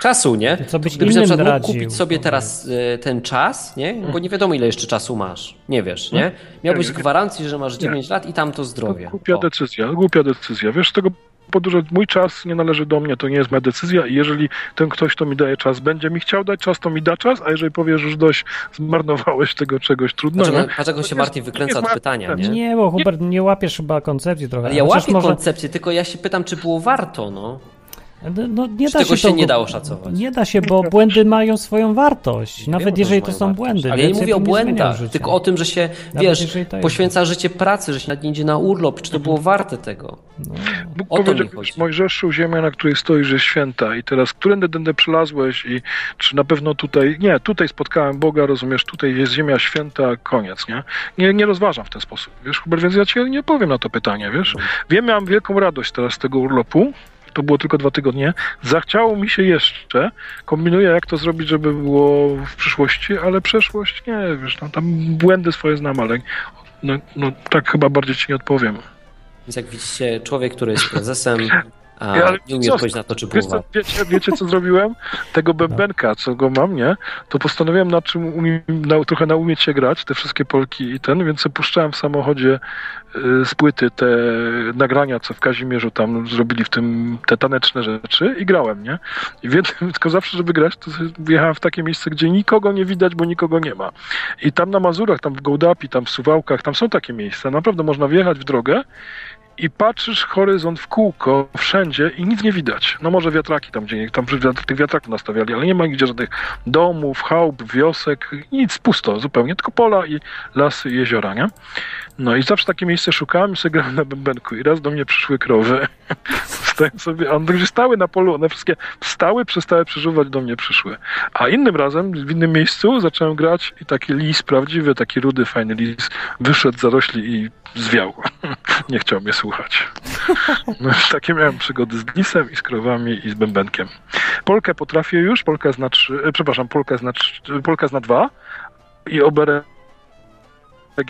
C: czasu, nie?
B: Co byś
C: Gdybyś na
B: innym
C: przykład mógł
B: radził,
C: kupić sobie
B: powiedz.
C: teraz e, ten czas, nie? Bo nie wiadomo, ile jeszcze czasu masz. Nie wiesz, nie? Miałbyś
E: Nie, nie.
C: gwarancję, że masz
E: Hmm? Tak, Nie.
C: 9 lat i tam to zdrowie.
E: Głupia
C: O.
E: decyzja, głupia decyzja. Wiesz, z tego powodu, że mój czas nie należy do mnie, to nie jest moja decyzja i jeżeli ten ktoś, kto mi daje czas, będzie mi chciał dać czas, to mi da czas, a jeżeli powiesz już dość, zmarnowałeś tego czegoś, trudno.
C: Dlaczego,
E: no nie?
C: dlaczego się
E: To jest-
C: Martin
E: to jest
C: wykręca od
E: moja
C: pytania, nie?
E: preferencja.
B: Nie, bo Hubert, nie łapiesz chyba koncepcji trochę.
C: Ale ja
B: Chociaż
C: łapię koncepcję, tylko ja się pytam, czy było warto, no.
B: No, No, nie
C: Czy
B: da
C: tego
B: się,
C: się
B: to-
C: nie dało szacować?
B: Nie da się, bo błędy mają swoją wartość.
C: Wiem,
B: Nawet
C: że
B: jeżeli
C: mają
B: to są
C: wartość.
B: błędy.
C: Ale ja
B: więc
C: nie mówię o
B: bym zmieniał
C: błędach,
B: życia.
C: tylko o tym, że się,
B: Nawet
C: wiesz,
B: jeżeli to jest.
C: poświęca życie pracy, że się nawet nie idzie na urlop, czy to było warte tego.
B: No,
E: Bóg
C: O to mi
E: powiedział
C: chodzi.
E: już Mojżeszu, ziemia, na której stoisz, jest święta i teraz, którędy tędy przylazłeś i czy na pewno tutaj, nie, tutaj spotkałem Boga, rozumiesz, tutaj jest ziemia święta, koniec, nie? Nie, nie rozważam w ten sposób, wiesz, Hubert, więc ja ci nie powiem na to pytanie, wiesz?
C: Mhm.
E: Wiem, miałem wielką radość teraz z tego urlopu, to było tylko dwa tygodnie, zachciało mi się jeszcze, kombinuję jak to zrobić, żeby było w przyszłości, ale przeszłość, nie, wiesz, no, tam błędy swoje znam, ale no, no, tak chyba bardziej ci nie odpowiem.
C: Więc jak widzicie, człowiek, który jest prezesem, a
E: Ja, ale
C: nie umie
E: co-
C: odpowiedzieć na to, czy było
E: Wiesz co,
C: warto.
E: wiecie, wiecie co zrobiłem? Tego bębenka, co go mam, nie? To postanowiłem na czym umiem, na, trochę naumieć się grać, te wszystkie polki i ten, więc sobie puszczałem w samochodzie y, z płyty te nagrania, co w Kazimierzu tam zrobili w tym, te taneczne rzeczy i grałem, nie? I wiem, tylko zawsze, żeby grać, to sobie wjechałem w takie miejsce, gdzie nikogo nie widać, bo nikogo nie ma. I tam na Mazurach, tam w Gołdapi, tam w Suwałkach, tam są takie miejsca. Naprawdę można wjechać w drogę i patrzysz horyzont w kółko wszędzie i nic nie widać. No może wiatraki tam gdzie, tam przy wiatr, tych wiatraków nastawiali, ale nie ma nigdzie żadnych domów, chałup, wiosek, nic, pusto zupełnie, tylko pola i lasy i jeziora, nie? No i zawsze takie miejsce szukałem i sobie grałem na bębenku i raz do mnie przyszły krowy. Stałem sobie, a one gdzieś stały na polu, one wszystkie stały, przestały przeżuwać, do mnie przyszły. A innym razem, w innym miejscu zacząłem grać i taki lis prawdziwy, taki rudy, fajny lis, wyszedł z zarośli i zwiał nie chciał mnie słuchać. No, takie miałem przygody z lisem i z krowami i z bębenkiem. Polkę potrafię już, Polka zna trzy, e, przepraszam, Polka zna, trzy, Polka zna dwa i oberek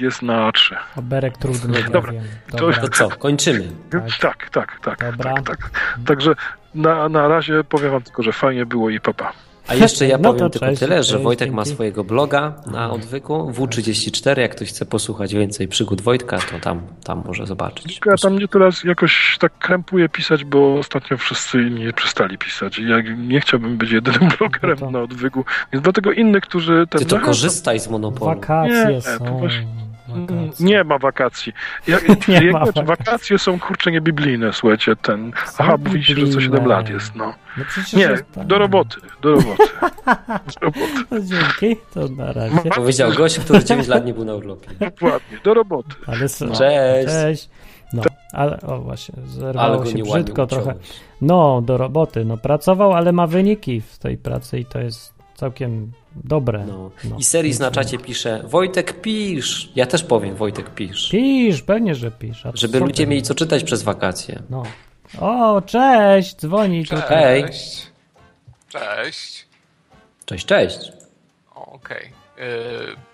E: jest na trzy.
B: O Berek trudny, ja
E: Dobra,
B: wiem.
E: to-
B: Dobra.
C: To co, kończymy.
E: Więc tak, tak, tak.
B: Dobra.
E: tak, tak. Także na, na razie powiem wam tylko, że fajnie było i papa.
C: A jeszcze ja
B: No
C: powiem
B: to
C: tylko
B: cześć,
C: tyle, że
B: cześć,
C: Wojtek ma
B: dzięki.
C: swojego bloga na odwyku W34. Jak ktoś chce posłuchać więcej przygód Wojtka, to tam, tam może zobaczyć.
E: Ja tam mnie teraz jakoś tak krępuje pisać, bo ostatnio wszyscy nie przestali pisać. I ja nie chciałbym być jedynym blogerem
B: No to-
E: na odwygu, więc dlatego innych, którzy... Ten,
C: Ty to
E: no,
C: korzystaj z monopolu.
B: Wakacje
E: Nie, to
B: są.
E: właśnie-
B: Wakacje.
E: Nie ma wakacji. Ja,
B: No, Nie
E: nie
B: ma wakacji.
E: wakacje są kurczę niebiblijne, słuchajcie, ten. Aha, mówicie, że co 7
B: biblijne.
E: lat jest, no.
B: No przecież
E: Nie,
B: jest tak.
E: do roboty, do roboty. Do roboty,
B: To dzięki, to na razie.
C: Powiedział gość, który 9 lat nie był na urlopie.
E: dokładnie, do roboty.
B: Ale s-
C: Cześć.
B: Cześć. No, Ale, o właśnie,
C: Ale
B: zerwało
C: go
B: się
C: nie ładnie
B: brzydko trochę.
C: uciąłeś.
B: No, do roboty. No, pracował, ale ma wyniki w tej pracy i to jest całkiem dobre.
C: No.
B: No.
C: I serii na czacie pisze Wojtek pisz. Ja też powiem Wojtek pisz.
B: Pisz, pewnie, że pisz. A
C: Żeby
B: co
C: ludzie
B: ty?
C: mieli co czytać przez wakacje.
B: No. O, cześć, dzwoni tutaj.
C: Hej.
F: Cześć. Cześć.
C: Cześć, cześć.
F: O, Okej. Y,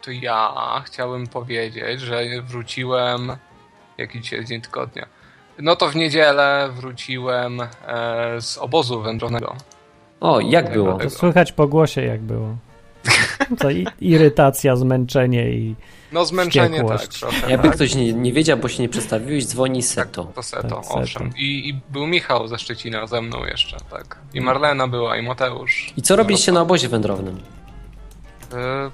F: To ja chciałem powiedzieć, że wróciłem. Jaki dzisiaj jest dzień tygodnia? No to w niedzielę wróciłem e, z obozu wędrownego.
C: O, jak było?
B: To słychać po głosie, jak było. Co, i- irytacja, zmęczenie i...
F: No zmęczenie tak
B: Wściekłość.
F: trochę.
C: Jakby
F: tak.
C: ktoś nie, nie wiedział, bo się nie przedstawiłeś, dzwoni Seto.
F: To Seto,
B: Tak, Seto.
F: owszem. I, I był Michał ze Szczecina ze mną jeszcze, tak.
B: Mm.
F: I Marlena była, i Mateusz.
C: I co robiliście na obozie wędrownym?
F: E,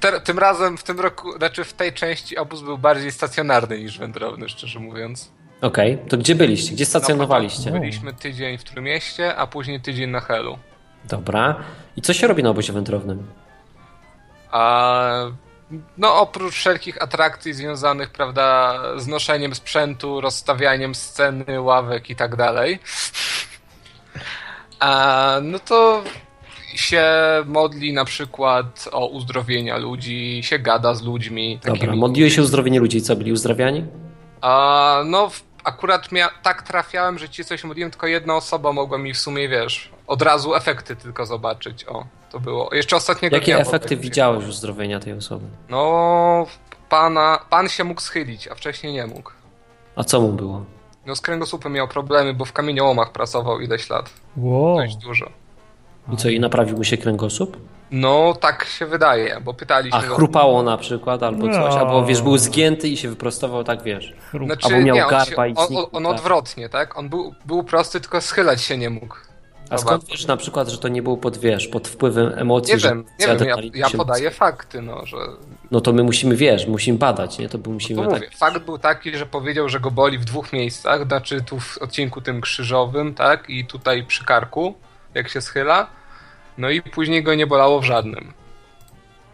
F: Te, tym razem, w tym roku, znaczy w tej części obóz był bardziej stacjonarny niż wędrowny, szczerze mówiąc.
C: Okej, to gdzie byliście? Gdzie stacjonowaliście?
F: Byliśmy tydzień w Trójmieście, a później tydzień na Helu.
C: Dobra. I co się robi na obozie wędrownym?
F: A no oprócz wszelkich atrakcji związanych, prawda, z noszeniem sprzętu, rozstawianiem sceny, ławek i tak dalej. A, no to się modli na przykład o uzdrowienia ludzi, się gada z ludźmi.
C: Dobra,
F: takimi-
C: modliłeś się o uzdrowienie ludzi. Co, byli uzdrawiani?
F: A, no, w, akurat mia- tak trafiałem, że ci coś mówiłem, tylko jedna osoba mogła mi w sumie, wiesz, od razu efekty tylko zobaczyć. O, to było. Jeszcze ostatniego
C: Jakie
F: dnia
C: efekty
F: bo-
C: widziałeś uzdrowienia tej osoby?
F: No, pana, pan się mógł schylić, a wcześniej nie mógł.
C: A co mu było?
F: No, z kręgosłupem miał problemy, bo w kamieniołomach pracował ileś lat.
B: Wow.
F: Dość dużo.
C: I co, i naprawił mu się kręgosłup?
F: No, tak się wydaje, bo pytaliśmy.
C: A chrupało na przykład, albo coś,
B: No.
C: albo wiesz, był zgięty i się wyprostował, tak wiesz.
B: Chrup.
F: Znaczy,
C: albo miał
F: nie, on,
C: garba
F: się,
C: i
F: on, on,
C: znikł,
F: on
C: tak.
F: odwrotnie, tak? On był, był prosty, tylko schylać się nie mógł.
C: A skąd wiesz na przykład, że to nie było pod, wiesz, pod wpływem emocji?
F: Nie
C: że
F: wiem, nie wiem, ja,
C: adrenalina
F: ja
C: się-
F: podaję fakty, no, że
C: No to my musimy, wiesz, musimy badać, nie? To by musimy
F: No mówię,
C: tak...
F: fakt był taki, że powiedział, że go boli w dwóch miejscach, znaczy tu w odcinku tym krzyżowym, tak, i tutaj przy karku, jak się schyla. No i później go nie bolało w żadnym.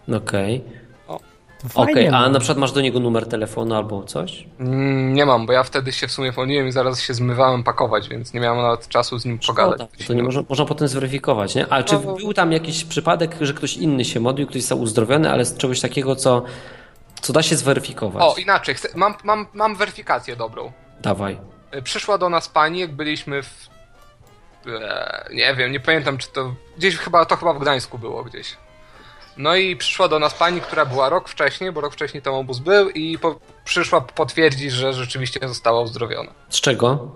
C: no Okej.
B: To
C: Okej,
B: fajnie,
C: a
B: no.
C: na przykład masz do niego numer telefonu albo coś?
F: Mm, nie mam, bo ja wtedy się w sumie pomyliłem i zaraz się zmywałem pakować, więc nie miałem nawet czasu z nim pogadać.
C: to nie można, można potem zweryfikować, nie? A czy
F: No, bo-
C: był tam jakiś przypadek, że ktoś inny się modlił, ktoś został uzdrowiony, ale z czegoś takiego, co, co da się zweryfikować?
F: O, inaczej, chcę, mam, mam, mam weryfikację dobrą.
C: Dawaj.
F: E, Przyszła do nas pani, jak byliśmy w... E, nie wiem, nie pamiętam, czy to... Gdzieś chyba, to chyba w Gdańsku było gdzieś. No i przyszła do nas pani, która była rok wcześniej, bo rok wcześniej tam obóz był i po, przyszła potwierdzić, że rzeczywiście została uzdrowiona.
C: Z czego?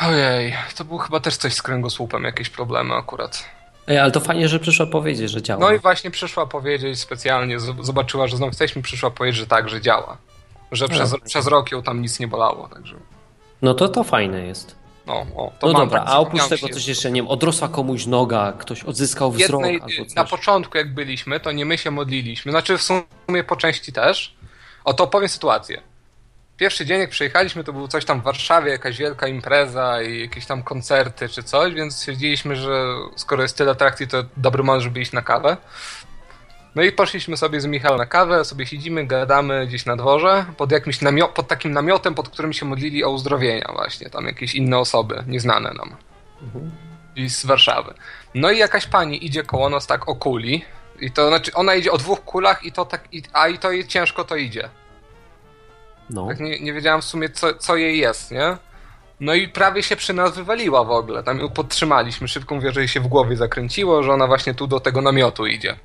F: Ojej, to było chyba też coś z kręgosłupem, jakieś problemy akurat.
C: Ej, ale to fajnie, że przyszła powiedzieć, że działa.
F: No i właśnie przyszła powiedzieć specjalnie, z- zobaczyła, że znowu jesteśmy, przyszła powiedzieć, że tak, że działa. Że przez, przez rok ją tam nic nie bolało, także...
C: No to to fajne jest.
F: No, o, to
C: No
F: mam
C: dobra,
F: tak,
C: a oprócz
F: zapomniałem
C: tego
F: się-
C: coś jeszcze, nie wiem, odrosła komuś noga, ktoś odzyskał wzrok
F: jednej,
C: albo
F: na
C: coś.
F: początku jak byliśmy, to nie my się modliliśmy, znaczy w sumie po części też. Oto opowiem sytuację. Pierwszy dzień jak przyjechaliśmy, to był coś tam w Warszawie, jakaś wielka impreza i jakieś tam koncerty czy coś, więc stwierdziliśmy, że skoro jest tyle atrakcji, to dobry moment, żeby iść na kawę. No i poszliśmy sobie z Michałem na kawę, sobie siedzimy, gadamy gdzieś na dworze, pod jakimś namio- pod takim namiotem, pod którym się modlili o uzdrowienia właśnie, tam jakieś inne osoby, nieznane nam. I z Warszawy. No i jakaś pani idzie koło nas tak o kuli. I to znaczy ona idzie o dwóch kulach i to tak. I, a i to jej ciężko to idzie.
C: No.
F: Tak nie, nie wiedziałam w sumie co, co jej jest, nie? No i prawie się przy nas wywaliła w ogóle. Tam ją podtrzymaliśmy. Szybko mówię, że jej się w głowie zakręciło, że ona właśnie tu do tego namiotu idzie.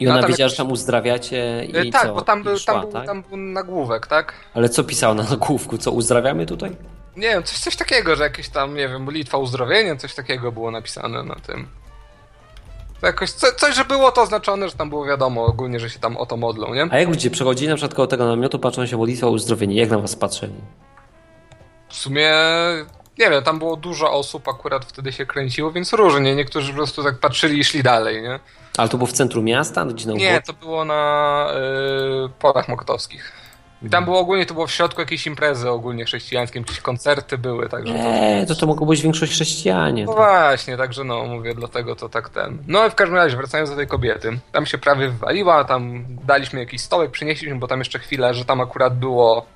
C: I ona
F: a tam
C: wiedziała, że
F: jakoś-
C: tam uzdrawiacie i
F: E, tak,
C: co?
F: bo tam był,
C: I szła,
F: tam, był,
C: tak?
F: tam był nagłówek, tak?
C: Ale co pisała na nagłówku? Co, uzdrawiamy tutaj?
F: Nie wiem, coś, coś takiego, że jakieś tam, nie wiem, Litwa uzdrowienie, coś takiego było napisane na tym. To Jakoś co, coś, że było to oznaczone, że tam było wiadomo ogólnie, że się tam o to modlą, nie?
C: A jak ludzie przechodzili na przykład koło tego namiotu, patrzą się modlitwa o uzdrowienie, jak na was patrzyli?
F: W sumie nie wiem, tam było dużo osób akurat wtedy się kręciło, więc różnie. Niektórzy po prostu tak patrzyli i szli dalej, nie?
C: Ale to było w centrum miasta, gdzie na
F: Nie,
C: uboczy?
F: to było na y, polach moktowskich. I tam było ogólnie, to było w środku jakiejś imprezy ogólnie chrześcijańskiej, jakieś koncerty były, także to...
C: Eee, to to mogło być większość chrześcijanie.
F: No
C: tak.
F: właśnie, także no, mówię, dlatego to tak ten. No i w każdym razie, wracając do tej kobiety, tam się prawie wywaliła, tam daliśmy jakiś stołek, przynieśliśmy, bo tam jeszcze chwilę, że tam akurat było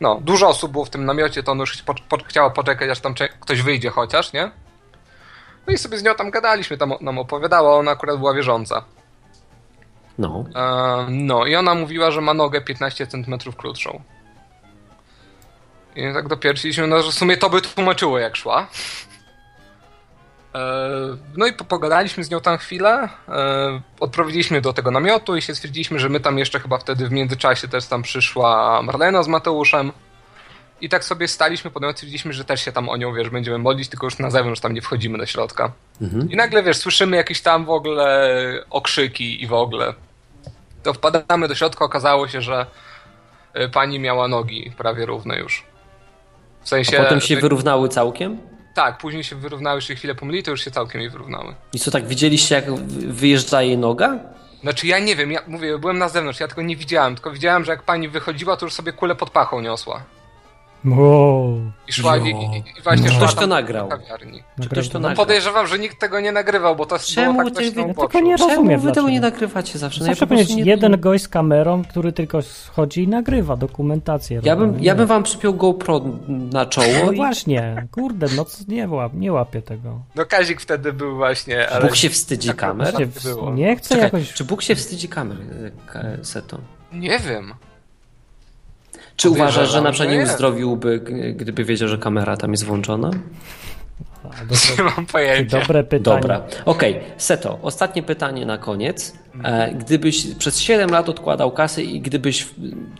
F: No, dużo osób było w tym namiocie, to on już po, po, chciało poczekać, aż tam cze- ktoś wyjdzie chociaż, nie? No i sobie z nią tam gadaliśmy, tam o- nam opowiadała, ona akurat była wierząca.
C: No.
F: E, no i ona mówiła, że ma nogę 15 cm krótszą. I tak dopierściliśmy, no, że w sumie to by tłumaczyło, jak szła. E, no i po- pogadaliśmy z nią tam chwilę. E, odprowadziliśmy do tego namiotu i się stwierdziliśmy, że my tam jeszcze chyba wtedy w międzyczasie też tam przyszła Marlena z Mateuszem. I tak sobie staliśmy, potem stwierdziliśmy, że też się tam o nią, wiesz, będziemy modlić, tylko już na zewnątrz tam nie wchodzimy do środka.
C: Mhm.
F: I nagle, wiesz, słyszymy jakieś tam w ogóle okrzyki i w ogóle. To wpadamy do środka, okazało się, że y, pani miała nogi prawie równe już. W sensie,
C: A potem się
F: że-
C: wyrównały całkiem?
F: tak, później się wyrównały, się chwilę pomyli, to już się całkiem jej wyrównały.
C: I co, tak widzieliście, jak wy- wyjeżdża jej noga?
F: Znaczy ja nie wiem, ja mówię, byłem na zewnątrz, ja tego nie widziałem, tylko widziałem, że jak pani wychodziła, to już sobie kulę pod pachą niosła.
B: Wow. No,
F: I szła, i, i, i właśnie
C: No. Ktoś
F: szła
C: to
F: tam
C: nagrał.
F: do kawiarni. No,
C: Czy ktoś to
B: Nagrał.
C: nagrał?
F: Podejrzewam, że nikt tego nie nagrywał, bo to
C: Czemu
F: było
C: ty
F: tak dość
C: wy-
F: na
C: Ja
B: tylko
F: uboczu.
B: nie
C: Czemu
B: rozumiem
C: wy tego
B: dlaczego.
C: nie nagrywacie zawsze? No ja
B: Zawsze
C: po prostu
B: powinieneś
C: nie,
B: jeden gość z kamerą, który tylko chodzi i nagrywa dokumentację.
C: Ja
B: robi,
C: bym,
B: nie?
C: ja bym wam przypiął GoPro na
B: No
C: czoło i
B: właśnie, kurde, no c- nie, łap, nie łapię tego.
F: No Kazik wtedy był właśnie, ale...
C: Bóg się wstydzi kamer.
B: Właśnie,
F: tak było.
B: nie chcę
C: Czekaj,
B: jakoś...
C: Czy Bóg się wstydzi kamer, e, K- Seto?
F: Nie wiem.
C: Czy uważasz, że
F: Podejrzewam,
C: na przykład nie
F: że nie.
C: uzdrowiłby, g- gdyby wiedział, że kamera tam jest włączona?
B: A,
C: No,
B: dobre,
F: Nie mam pojęcia.
B: dobre pytanie.
C: Dobra. Okej, Seto, ostatnie pytanie na koniec. E, Gdybyś przez 7 lat odkładał kasy i gdybyś w-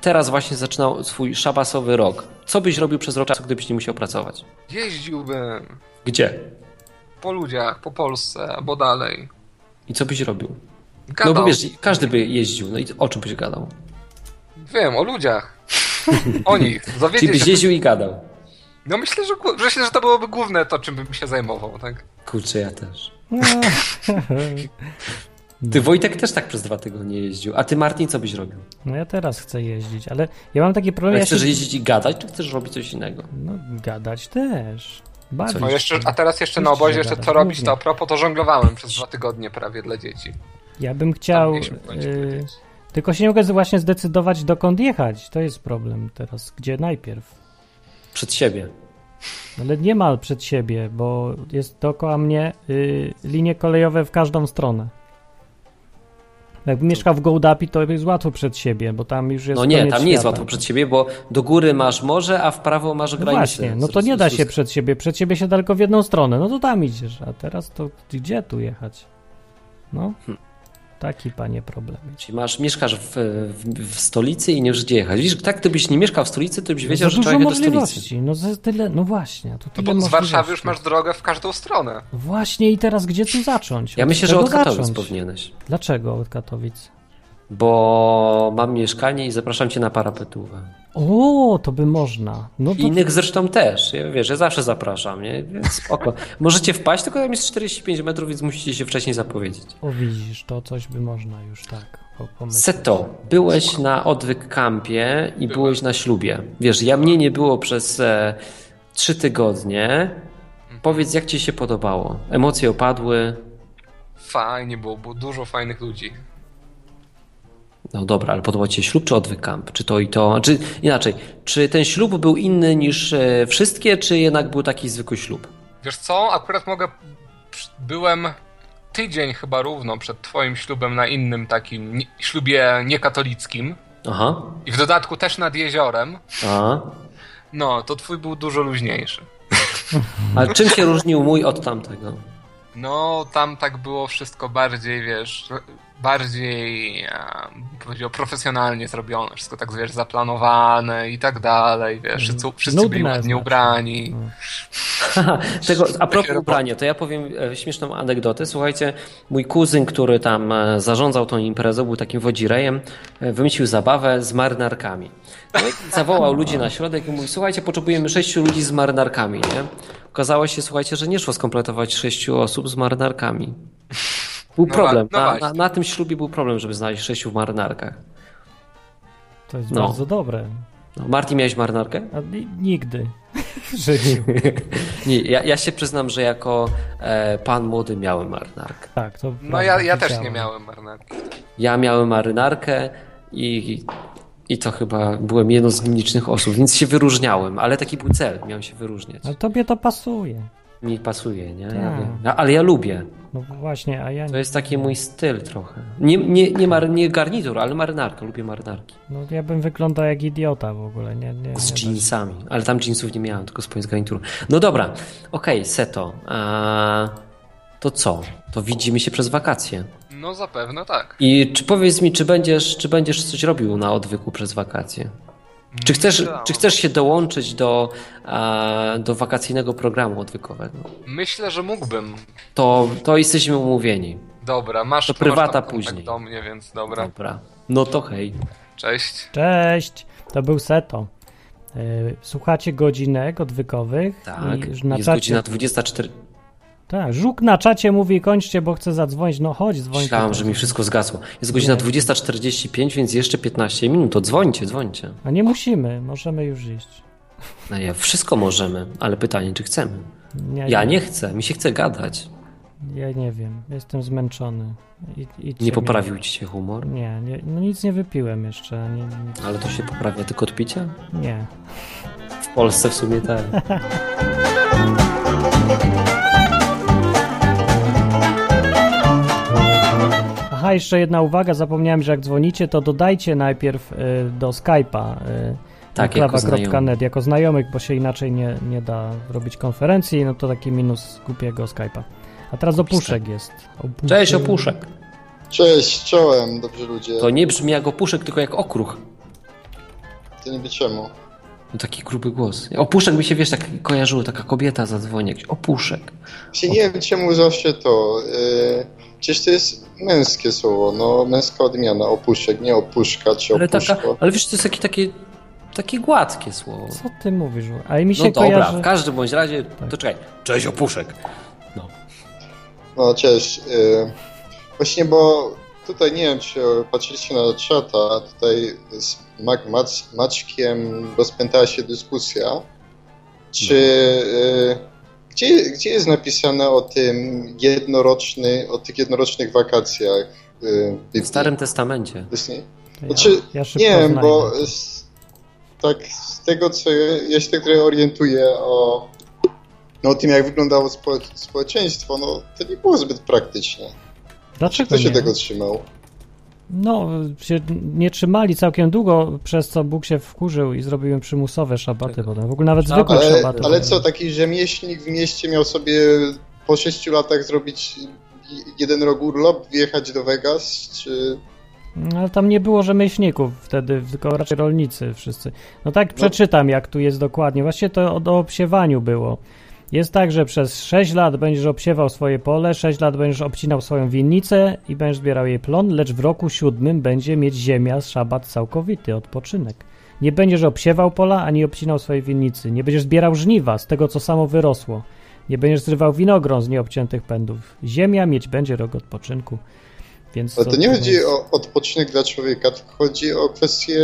C: teraz właśnie zaczynał swój szabasowy rok, co byś robił przez rok czasu, gdybyś nie musiał pracować?
F: Jeździłbym
C: Gdzie?
F: po ludziach, po Polsce, albo dalej.
C: I co byś robił?
F: Gadał.
C: No bo wiesz, każdy by jeździł, no i o czym byś gadał?
F: Wiem, o ludziach. O nich.
C: Czyli
F: Dowiedzieć
C: byś
F: się.
C: jeździł i gadał.
F: No myślę że, gó- myślę, że to byłoby główne to, czym bym się zajmował, tak?
C: Kurczę, ja też.
B: No.
C: Ty Wojtek też tak przez dwa tygodnie jeździł. A ty Martin, co byś robił?
B: No ja teraz chcę jeździć, ale ja mam taki problem,
C: Ale
B: No ja się...
C: chcesz jeździć i gadać, czy chcesz robić coś innego?
B: No, gadać też. Bawić
F: No jeszcze,
B: się.
F: a teraz jeszcze na
B: Oczywiście,
F: obozie
B: że
F: jeszcze
B: gadam.
F: co robić,
B: Głównie.
F: to a propos to żonglowałem przez dwa tygodnie prawie dla dzieci.
B: Ja bym
F: Tam
B: chciał...
F: mieliśmy w końcu
B: y,
F: powiedzieć.
B: Tylko się nie mogę właśnie zdecydować, dokąd jechać. To jest problem teraz. Gdzie najpierw?
C: Przed siebie.
B: Ale nie ma przed siebie, bo jest dookoła mnie y, linie kolejowe w każdą stronę. Jakbym mieszkał w Gołdapi, to jest łatwo przed siebie, bo tam już jest
C: No nie,
B: koniec
C: tam nie jest
B: świata.
C: łatwo przed siebie, bo do góry masz morze, a w prawo masz
B: No
C: granicę.
B: właśnie, no
C: z-
B: to nie
C: z-
B: da
C: z-
B: się przed siebie. Przed siebie się da tylko w jedną stronę. No to tam idziesz, a teraz to gdzie tu jechać? No,
C: Hm.
B: taki panie problem.
C: Czyli Masz, mieszkasz w, w, w stolicy i nie wiesz gdzie jechać. Widzisz, tak gdybyś nie mieszkał w stolicy, to byś wiedział,
B: no, za
C: że trzeba
B: dużo
C: jechać do stolicy.
B: możliwości. No za tyle, no właśnie, tu
F: No
B: tyle
F: bo z Warszawy
B: możliwości.
F: już masz drogę w każdą stronę.
B: Właśnie i teraz gdzie tu zacząć?
C: Ja myślę, że
B: czego
C: od Katowic
B: zacząć?
C: powinieneś.
B: Dlaczego od Katowic?
C: Bo mam mieszkanie i zapraszam cię na parapetówę.
B: O, to by można. No to
C: Innych zresztą też. Ja, wiesz, ja zawsze zapraszam, nie? Więc spoko. Możecie wpaść, tylko tam jest 45 metrów, więc musicie się wcześniej zapowiedzieć.
B: o, widzisz, to coś by można już tak po- pomyśleć.
C: Seto, byłeś na odwyk kampie i byłeś na ślubie. Wiesz, ja mnie nie było przez e, trzy tygodnie. Powiedz, jak ci się podobało? Emocje opadły.
F: Fajnie było, było dużo fajnych ludzi.
C: No dobra, ale podobał ci się ślub czy odwyk kamp? Czy to i to? Czy inaczej, czy ten ślub był inny niż e, wszystkie, czy jednak był taki zwykły ślub?
F: Wiesz co, akurat mogę. Byłem tydzień chyba równo przed twoim ślubem na innym takim nie, ślubie niekatolickim.
C: Aha.
F: I w dodatku też nad jeziorem.
C: A.
F: No, to twój był dużo luźniejszy.
C: Ale czym się różnił mój od tamtego?
F: No, tam tak było wszystko bardziej, wiesz, bardziej, e, bym powiedział, profesjonalnie zrobione. Wszystko tak, wiesz, zaplanowane i tak dalej, wiesz.
C: Mhm.
F: Wszyscy, wszyscy byli
B: Nudne
F: ładnie
B: znaczy.
F: ubrani.
C: No, Aha, tego, a propos
F: roboty.
C: ubrania, to ja powiem e, śmieszną anegdotę. Słuchajcie, mój kuzyn, który tam e, zarządzał tą imprezą, był takim wodzirejem, e, wymyślił zabawę z marynarkami. No i zawołał ludzi na środek i mówił, słuchajcie, potrzebujemy sześciu ludzi z marynarkami, nie? Okazało się, słuchajcie, że nie szło skompletować sześciu osób z marynarkami. Był
F: No
C: problem.
F: wa- no
C: Na,
F: właśnie.
C: na, na tym ślubie był problem, żeby znaleźć sześciu w marynarkach.
B: To jest
C: No.
B: bardzo dobre.
C: No, Martin, miałeś marynarkę?
B: A ni- nigdy w życiu.
C: Nie, ja, ja się przyznam, że jako e, pan młody miałem marynarkę.
B: Tak, to
F: No,
B: prawda,
F: ja, ja też
B: widziałem.
F: nie miałem marynarki.
C: Ja miałem marynarkę i I to chyba byłem jedną z nielicznych osób, więc się wyróżniałem, ale taki był cel, miałem się wyróżniać.
B: Ale tobie to pasuje.
C: Mi pasuje, nie? Ja
B: Tak.
C: wiem. Ja, ale ja lubię.
B: No właśnie, a ja,
C: To jest taki mój styl trochę. Nie, nie, nie, mar, nie garnitur, ale marynarka, lubię marynarki.
B: no, ja bym wyglądał jak idiota w ogóle. Nie, nie, nie
C: Z jeansami, ale tam jeansów nie miałem, tylko spodnie z garniturą. No dobra, okej, Seto. A, to co? To widzimy się przez wakacje.
F: No zapewne tak.
C: I czy powiedz mi, czy będziesz, czy będziesz coś robił na odwyku przez wakacje? Czy chcesz,
F: Myślałem.
C: czy chcesz się dołączyć do, a, do wakacyjnego programu odwykowego?
F: Myślę, że mógłbym.
C: To, to jesteśmy umówieni.
F: Dobra, masz
C: To
F: ty masz tam
C: prywata
F: kontakt
C: później.
F: do mnie, więc dobra.
C: Dobra. No to hej.
F: Cześć.
B: Cześć, to był Seto. Yy, Słuchacie godzinek odwykowych.
C: Tak.
B: I na
C: Jest
B: czacie,
C: godzina 24.
B: Tak, żuk na czacie mówi kończcie, bo chce zadzwonić. No chodź, dzwoń.
C: Myślałem,
B: tutaj.
C: że mi wszystko zgasło. Jest godzina 20.45, więc jeszcze 15 minut. To dzwońcie, dzwońcie.
B: A nie musimy, możemy już iść.
C: No ja, wszystko możemy, ale pytanie, czy chcemy?
B: Nie,
C: Ja nie chcę, mi się chce gadać.
B: Ja nie wiem, jestem zmęczony. I, idźcie
C: Nie
B: mi-
C: poprawił ci się humor?
B: Nie, nie, no nic nie wypiłem jeszcze. Nie, nic,
C: Ale to się poprawia tylko od picia?
B: nie.
C: W Polsce w sumie tak.
B: Aha, jeszcze jedna uwaga, zapomniałem, że jak dzwonicie, to dodajcie najpierw y, do Skype'a y,
C: Tak, jako
B: enklawa.net
C: znajomy.
B: jako znajomych, bo się inaczej nie, nie da robić konferencji, no to taki minus głupiego Skype'a. A teraz opuszek jest. Opuszek.
C: Cześć, opuszek.
G: Cześć, czołem, dobrzy ludzie.
C: To nie brzmi jak opuszek, tylko jak okruch.
G: To niby czemu?
C: No taki gruby głos. Opuszek mi się, wiesz, tak kojarzyło, taka kobieta zadzwoni, jakiś opuszek.
G: Czy nie wiem, czemu zawsze to. Yy, przecież to jest męskie słowo, no męska odmiana, opuszek, nie opuszka czy
C: Ale,
G: opuszko.
C: taka, ale wiesz, to jest takie, takie, takie gładkie słowo.
B: Co ty mówisz? A mi się
C: No dobra,
B: kojarzy... Tak.
C: w każdym bądź razie, to czekaj. Cześć, opuszek.
G: No cześć. Yy, właśnie, bo tutaj nie wiem, czy patrzyliście na czata, tutaj z Mac, Mac, Maćkiem rozpętała się dyskusja, czy... Yy, gdzie, gdzie jest napisane o tym jednoroczny, o tych jednorocznych wakacjach? Yy,
C: W Starym Testamencie.
G: Disney?
B: Ja,
G: Znaczy,
B: ja szybko
G: Nie wiem,
B: znajdę.
G: bo z, tak z tego, co ja- ja się tak trochę orientuję o, no, o tym, jak wyglądało spo, społeczeństwo, no to nie było zbyt praktyczne. Czy
B: Dlaczego
G: kto się
B: nie?
G: Znaczy, tego trzymał?
B: No, się nie trzymali całkiem długo, przez co Bóg się wkurzył i zrobił im przymusowe szabaty potem. W ogóle nawet
C: Szabat.
B: zwykłe
G: Ale,
B: szabaty.
G: ale co, taki rzemieślnik w mieście miał sobie po 6 latach zrobić jeden rok urlop, wjechać do Vegas, czy...
B: No, ale tam nie było rzemieślników wtedy, tylko raczej rolnicy wszyscy. No tak przeczytam, jak tu jest dokładnie. Właściwie to o- o obsiewaniu było. Jest tak, że przez 6 lat będziesz obsiewał swoje pole, 6 lat będziesz obcinał swoją winnicę i będziesz zbierał jej plon, lecz w roku siódmym będzie mieć ziemia szabat całkowity, odpoczynek. Nie będziesz obsiewał pola, ani obcinał swojej winnicy. Nie będziesz zbierał żniwa z tego, co samo wyrosło. Nie będziesz zrywał winogron z nieobciętych pędów. Ziemia mieć będzie rok odpoczynku. Więc
G: Ale
B: co
G: to nie chodzi
B: jest?
G: o odpoczynek dla człowieka, tylko chodzi o kwestię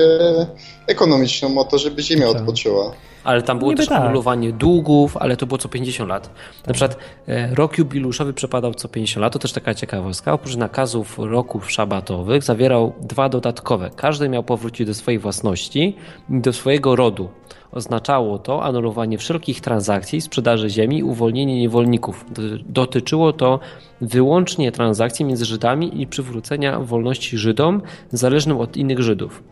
G: ekonomiczną, o to, żeby ziemia
B: Tak.
G: odpoczęła.
C: Ale tam było
B: Niby
C: też
B: tak.
C: anulowanie długów, ale to było co 50 lat. Na przykład e, rok jubiluszowy przepadał co 50 lat, to też taka ciekawostka. Oprócz nakazów roków szabatowych zawierał dwa dodatkowe. Każdy miał powrócić do swojej własności i do swojego rodu. Oznaczało to anulowanie wszelkich transakcji, sprzedaży ziemi i uwolnienie niewolników. D- Dotyczyło to wyłącznie transakcji między Żydami i przywrócenia wolności Żydom zależnym od innych Żydów.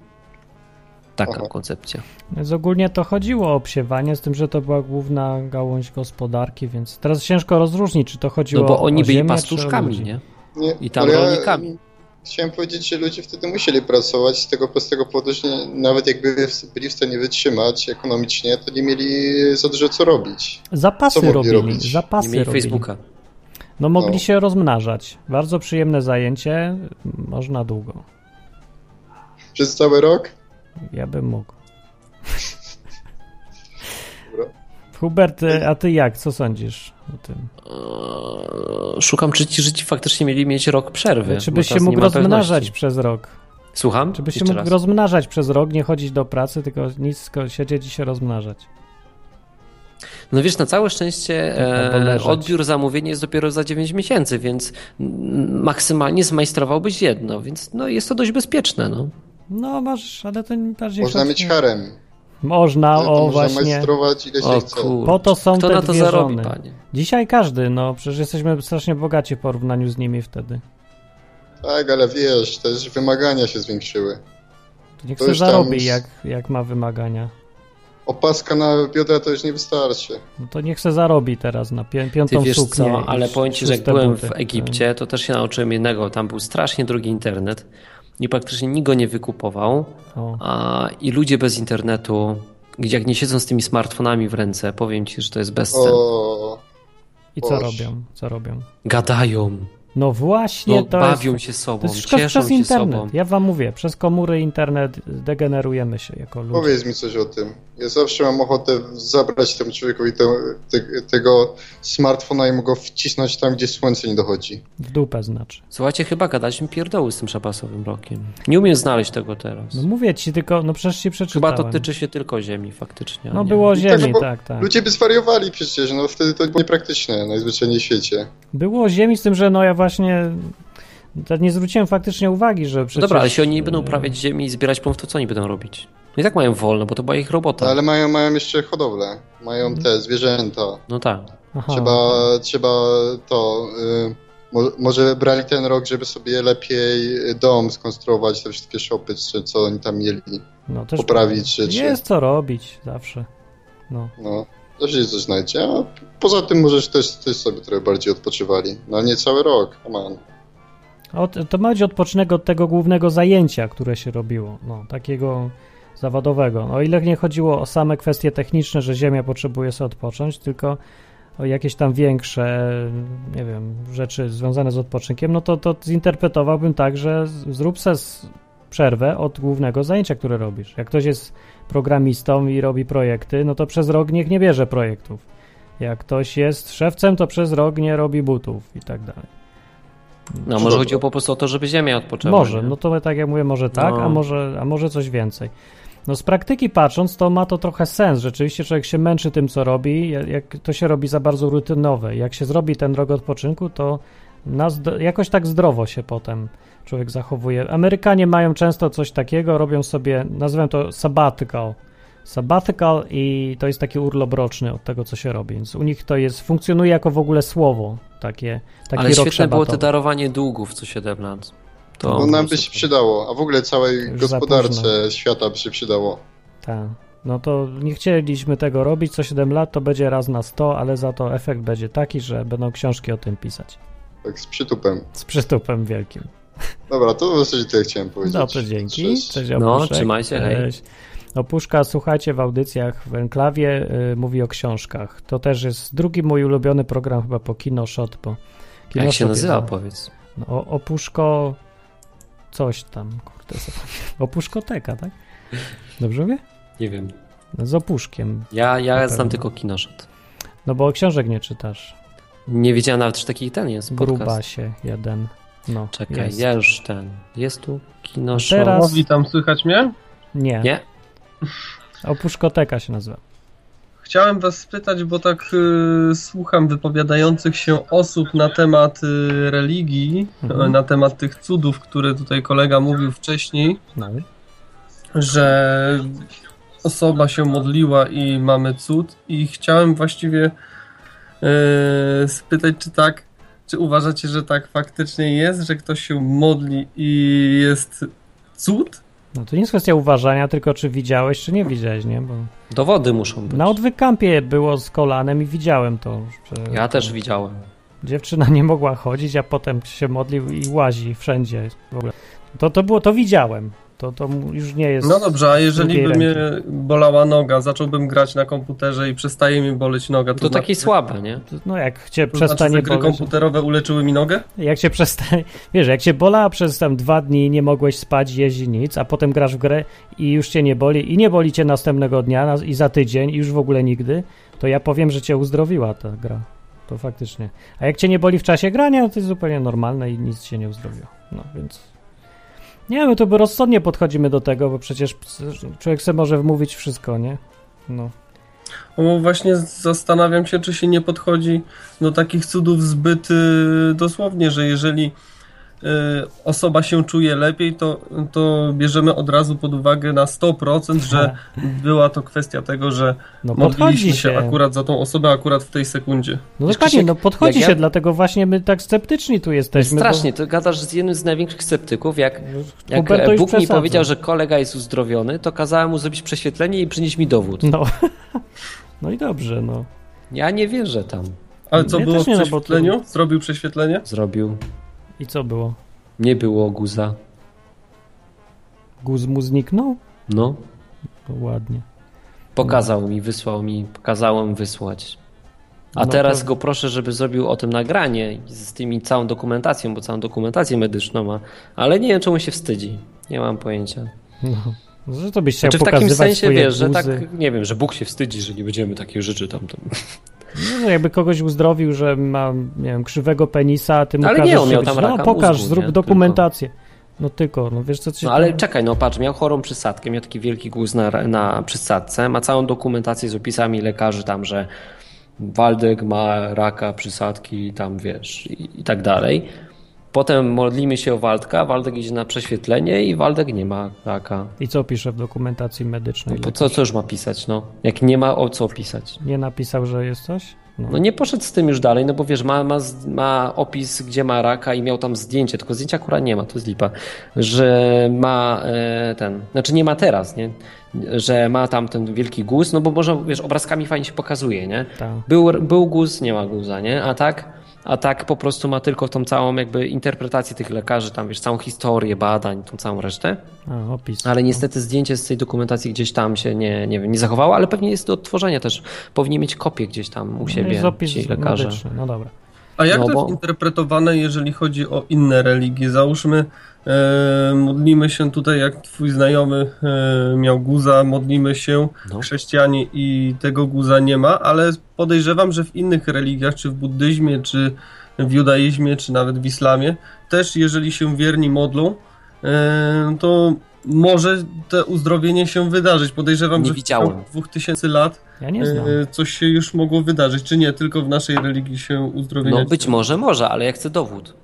C: Taka
G: Aha.
C: koncepcja.
B: Więc ogólnie to chodziło o obsiewanie, z tym, że to była główna gałąź gospodarki, więc teraz ciężko rozróżnić, czy to chodziło
C: No
B: o
C: bo oni
B: o
C: byli
B: ziemię, czy o
C: pastuszkami,
B: ludzi.
C: nie?
G: Nie,
C: I tam
G: ale ja-
C: rolnikami.
G: Chciałem powiedzieć, że ludzie wtedy musieli pracować z tego prostego powodu, że nie- nawet jakby w- byli w stanie wytrzymać ekonomicznie, to nie mieli za dużo co robić. Co
B: Zapasy
G: mogli
B: robili,
G: robić?
B: zapasy
C: Nie mieli
B: robili.
C: Facebooka.
B: No mogli
G: No.
B: się rozmnażać. Bardzo przyjemne zajęcie, można długo.
G: Przez cały rok?
B: Ja bym mógł.
G: Dobra.
B: Hubert, e, a ty jak, co sądzisz o tym?
C: Eee, Szukam, czy ci Żydzi faktycznie mieli mieć rok przerwy.
B: Czy
C: bo
B: byś
C: teraz
B: się
C: nie
B: mógł
C: ma pewności.
B: rozmnażać przez rok?
C: Słucham?
B: Czy byś się
C: Jeszcze
B: mógł
C: raz.
B: rozmnażać przez rok, nie chodzić do pracy, tylko nic, tylko siedzieć i się rozmnażać?
C: No wiesz, na całe szczęście
B: Albo
C: e,
B: leżeć.
C: odbiór zamówień jest dopiero za 9 miesięcy, więc mm, maksymalnie zmajstrowałbyś jedno, więc no, jest to dość bezpieczne. No.
B: No masz, ale to bardziej...
G: Można mieć
B: szacunek.
G: harem.
B: Można,
G: Ale to
B: o
G: można
B: właśnie.
G: majstrować ile się
C: O
G: chce.
C: kur...
B: Po to są
C: Kto
B: te
C: na to
B: dwie
C: zarobi,
B: żony.
C: panie?
B: Dzisiaj każdy, no przecież jesteśmy strasznie bogaci w porównaniu z nimi wtedy.
G: Tak, ale wiesz, też wymagania się zwiększyły.
B: To niech
G: To
B: sobie
G: już tam
B: zarobi,
G: z-
B: jak, jak ma wymagania.
G: Opaska na biodra to już nie wystarczy.
B: No to niech se zarobi teraz na pię- piątą
C: Ty wiesz
B: suknię.
C: co,
B: i
C: ale
B: sz-
C: powiem ci, że jak
B: szóste
C: byłem
B: buty. Mhm.
C: w Egipcie, to też się nauczyłem jednego. Tam był strasznie drogi internet i praktycznie nikt go nie wykupował.
B: E, O.
C: A, I ludzie bez internetu, gdzie jak nie siedzą z tymi smartfonami w ręce, powiem ci, że to jest bez cen.
G: O,
B: I co
G: Boże.
B: robią? Co robią?
C: Gadają,
B: No właśnie
C: no,
B: to
C: bawią
B: jest...
C: się
B: To
C: sobą,
B: jest wszystko
C: cieszą
B: przez
C: się
B: internet.
C: sobą.
B: Ja wam mówię, przez komury internet degenerujemy się jako ludzie.
G: powiedz mi coś o tym. Ja zawsze mam ochotę zabrać temu człowiekowi te, te, tego smartfona i mu go wcisnąć tam, gdzie słońce nie dochodzi.
B: W dupę znaczy.
C: Słuchajcie, chyba gadaliśmy pierdoły z tym szabasowym rokiem. Nie umiem znaleźć tego teraz.
B: No mówię ci tylko, no przecież ci przeczytałem.
C: Chyba to tyczy się tylko ziemi faktycznie. a
B: No
C: nie.
B: było o
G: No tak,
B: ziemi,
G: no bo
B: tak, tak.
G: Ludzie by zwariowali przecież, no wtedy to było niepraktyczne najzwyczajniej w świecie.
B: Było o ziemi z tym, że no ja właśnie to nie zwróciłem faktycznie uwagi, że
C: No
B: przecież... e, y,
C: dobra, ale jeśli oni nie będą uprawiać ziemi i zbierać punktów, to co oni będą robić? No i tak mają wolno, bo to była ich robota.
B: Tak.
G: No, ale mają, mają jeszcze hodowlę, mają
B: Mhm.
G: te zwierzęta.
C: No tak.
B: Aha,
G: Trzeba, trzeba to. Y, mo- może brali ten rok, żeby sobie lepiej dom skonstruować, te wszystkie szopy, czy co oni tam mieli,
B: no, też
G: poprawić rzeczy.
B: Jest co robić zawsze. No.
G: No, też się coś znajdzie. A poza tym możesz też, też sobie trochę bardziej odpoczywali. No nie cały rok, come on.
B: A Od, to ma być odpoczynek od tego głównego zajęcia, które się robiło, no, takiego zawodowego. No, O ile nie chodziło o same kwestie techniczne, że ziemia potrzebuje sobie odpocząć, tylko o jakieś tam większe, nie wiem, rzeczy związane z odpoczynkiem, no to, to zinterpretowałbym tak, że z- zrób se s- przerwę od głównego zajęcia, które robisz. Jak ktoś jest programistą i robi projekty, no to przez rok niech nie bierze projektów. Jak ktoś jest szewcem, to przez rok nie robi butów i tak dalej.
C: No może chodziło po prostu o to, żeby ziemia odpoczęła.
B: Może,
C: nie?
B: no to tak jak mówię, może tak,
C: No.
B: a, może, a może coś więcej. No z praktyki patrząc, to ma to trochę sens. Rzeczywiście człowiek się męczy tym, co robi, jak- jak to się robi za bardzo rutynowe. Jak się zrobi ten rok odpoczynku, to nas do, jakoś tak zdrowo się potem człowiek zachowuje. Amerykanie mają często coś takiego, robią sobie, nazywam to sabbatical. Sabbatical i to jest taki urlop roczny od tego, co się robi. Więc u nich to jest, funkcjonuje jako w ogóle słowo, takie, taki
C: Ale
B: rok
C: świetne było to
B: szabatowy.
C: darowanie długów co 7 lat. To
G: No,
C: po
G: nam
C: prostu-
G: by się przydało, a w ogóle całej
B: Już za późno.
G: gospodarce świata by się przydało.
B: Tak. No to nie chcieliśmy tego robić. Co 7 lat to będzie raz na 100, ale za to efekt będzie taki, że będą książki o tym pisać.
G: Tak z przytupem.
B: Z przystupem wielkim.
G: Dobra, to w zasadzie tyle chciałem powiedzieć.
B: Dobrze, dzięki.
G: Cześć.
B: Cześć,
C: No,
B: Opuszek.
C: trzymajcie, hej.
B: Cześć. Opuszka, słuchajcie, w audycjach w Enklawie y, mówi o książkach. To też jest drugi mój ulubiony program chyba po Kinoshot, bo
C: Jak się
B: Kinoshot
C: nazywa,
B: Jest,
C: powiedz.
B: no, o- opuszko... coś tam, kurde. zapomniałem. Opuszkoteka, tak? Dobrze mówię? No,
C: Nie wiem.
B: Z opuszkiem.
C: Ja, ja znam
B: pewno.
C: tylko kinoszet.
B: No bo książek nie czytasz.
C: Nie wiedziałem nawet, że taki ten jest podcast.
B: Gruba się jeden. No,
C: Czekaj,
B: jest. No
C: ja już ten. Jest tu kinoszet.
B: Teraz-
H: O, witam, słychać mnie?
B: Nie.
C: Nie?
B: Opuszkoteka się nazywa.
H: Chciałem was spytać, bo tak y, słucham wypowiadających się osób na temat y, religii,
B: Mhm.
H: y, na temat tych cudów, które tutaj kolega mówił wcześniej,
B: No.
H: że osoba się modliła i mamy cud i chciałem właściwie e, spytać, czy tak, czy uważacie, że tak faktycznie jest, że ktoś się modli i jest cud?
B: no to nie jest kwestia uważania, tylko czy widziałeś, czy nie widziałeś, nie? Bo
C: Dowody muszą być.
B: na odwykampie było z kolanem i widziałem to. Że
C: Ja też widziałem.
B: Dziewczyna nie mogła chodzić, a potem się modlił i łazi wszędzie. W ogóle. To, to było, to widziałem. To, to mu- już nie jest...
H: No dobrze, a jeżeli
B: drugiej
H: by mnie
B: ręki.
H: bolała noga, zacząłbym grać na komputerze i przestaje mi boleć noga,
C: To,
H: to,
C: to takie
H: znaczy,
C: słabe, nie?
B: No jak cię
H: to znaczy,
B: przestanie
H: że gry
B: boleć... no
H: komputerowe uleczyły mi nogę?
B: Jak cię przestanie... Wiesz, jak cię bolała przez tam dwa dni, nie mogłeś spać, jeździć, nic, a potem grasz w grę i już cię nie boli i nie boli cię następnego dnia na- i za tydzień i już w ogóle nigdy, to ja powiem, że cię uzdrowiła ta gra. To faktycznie. A jak cię nie boli w czasie grania, to jest zupełnie normalne i nic cię nie uzdrowiło. No więc... Nie, my to by rozsądnie podchodzimy do tego, bo przecież człowiek sobie może wmówić wszystko, nie? No.
H: Bo właśnie zastanawiam się, czy się nie podchodzi do takich cudów zbyt y, dosłownie, że jeżeli y, osoba się czuje lepiej, to, to bierzemy od razu pod uwagę na 100%, że była to kwestia tego, że
B: Tak. No podchodzi
H: modliliśmy
B: się.
H: się akurat za tą osobę, akurat w tej sekundzie.
B: No
C: Wiesz,
B: dokładnie,
C: Krzysiek,
B: no podchodzi
C: jak
B: się,
C: ja-
B: dlatego właśnie my tak sceptyczni tu jesteśmy. bo-
C: Strasznie, to gadasz z jednym z największych sceptyków, jak, jak
B: No, Huberto już
C: Bóg mi
B: przesadza.
C: powiedział, że kolega jest uzdrowiony, to kazałem mu zrobić prześwietlenie i przynieść mi dowód.
B: No. no i dobrze, no.
C: Ja nie wierzę tam.
H: Ale co
B: Ja
H: było
B: też
H: w
B: nie, no bo to-
H: prześwietleniu? Zrobił prześwietlenie?
C: Zrobił.
B: I co było?
C: Nie było guza.
B: Guz mu zniknął?
C: No.
B: To ładnie.
C: Pokazał mi, wysłał mi, kazałem wysłać. A
B: No
C: teraz
B: to-
C: go proszę, żeby zrobił o tym nagranie i z tymi całą dokumentacją, bo całą dokumentację medyczną ma. Ale nie wiem, czemu się wstydzi. Nie mam pojęcia.
B: No. Że to byś chciał
C: Czy Znaczy, w
B: pokazywać
C: takim sensie
B: swoje
C: wiesz, że
B: guzy.
C: tak, nie wiem, że Bóg się wstydzi, że nie będziemy takich rzeczy tam. tam.
B: No, że jakby kogoś uzdrowił, że ma, nie wiem, krzywego penisa, a ty mu
C: Ale nie,
B: każesz
C: on
B: się
C: miał
B: być,
C: tam
B: No
C: raka
B: pokaż,
C: mózgu,
B: zrób
C: nie?
B: dokumentację. No tylko, no wiesz co ci
C: No ale
B: tam-
C: czekaj, no patrz, miał chorą przysadkę, miał taki wielki guz na, na przysadce, ma całą dokumentację z opisami lekarzy tam, że Waldek ma raka przysadki, tam wiesz, i, i tak dalej. Potem modlimy się o Waldka, Waldek idzie na prześwietlenie i Waldek nie ma raka.
B: I co pisze w dokumentacji
C: No,
B: medycznej?
C: bo co, co już ma pisać, no? Jak nie ma o co pisać.
B: Nie napisał, że jest coś?
C: No nie poszedł z tym już dalej, no bo wiesz, ma, ma, ma opis, gdzie ma raka i miał tam zdjęcie, tylko zdjęcia akurat nie ma, to jest lipa, że ma e, ten, znaczy nie ma teraz, nie? Że ma tam ten wielki guz, no bo można, wiesz, obrazkami fajnie się pokazuje, nie?
B: Tak.
C: Był, był guz, nie ma guza, nie? A tak, a tak po prostu ma tylko tą całą jakby interpretację tych lekarzy, tam wiesz, całą historię badań, tą całą resztę.
B: A, opis.
C: Ale niestety zdjęcie z tej dokumentacji gdzieś tam się nie, nie wiem, nie zachowało, ale pewnie jest do odtworzenia też. Powinien mieć kopię gdzieś tam u
B: No
C: siebie
B: jest opis
C: ci lekarze.
B: medyczny, no dobra.
H: A jak
C: No
H: to
C: bo-
H: jest interpretowane, jeżeli chodzi o inne religie? Załóżmy, e, modlimy się tutaj, jak twój znajomy e, miał guza, modlimy się
C: No.
H: chrześcijanie i tego guza nie ma, ale podejrzewam, że w innych religiach, czy w buddyzmie, czy w judaizmie, czy nawet w islamie, też jeżeli się wierni modlą, e, to może to uzdrowienie się wydarzyć. Podejrzewam,
C: Nie
H: że w
C: widziałem.
H: ciągu 2000 lat
B: Ja nie znam.
H: e, coś się już mogło wydarzyć, czy nie, tylko w naszej religii się uzdrowienie
C: No być może, może, ale ja chcę dowód.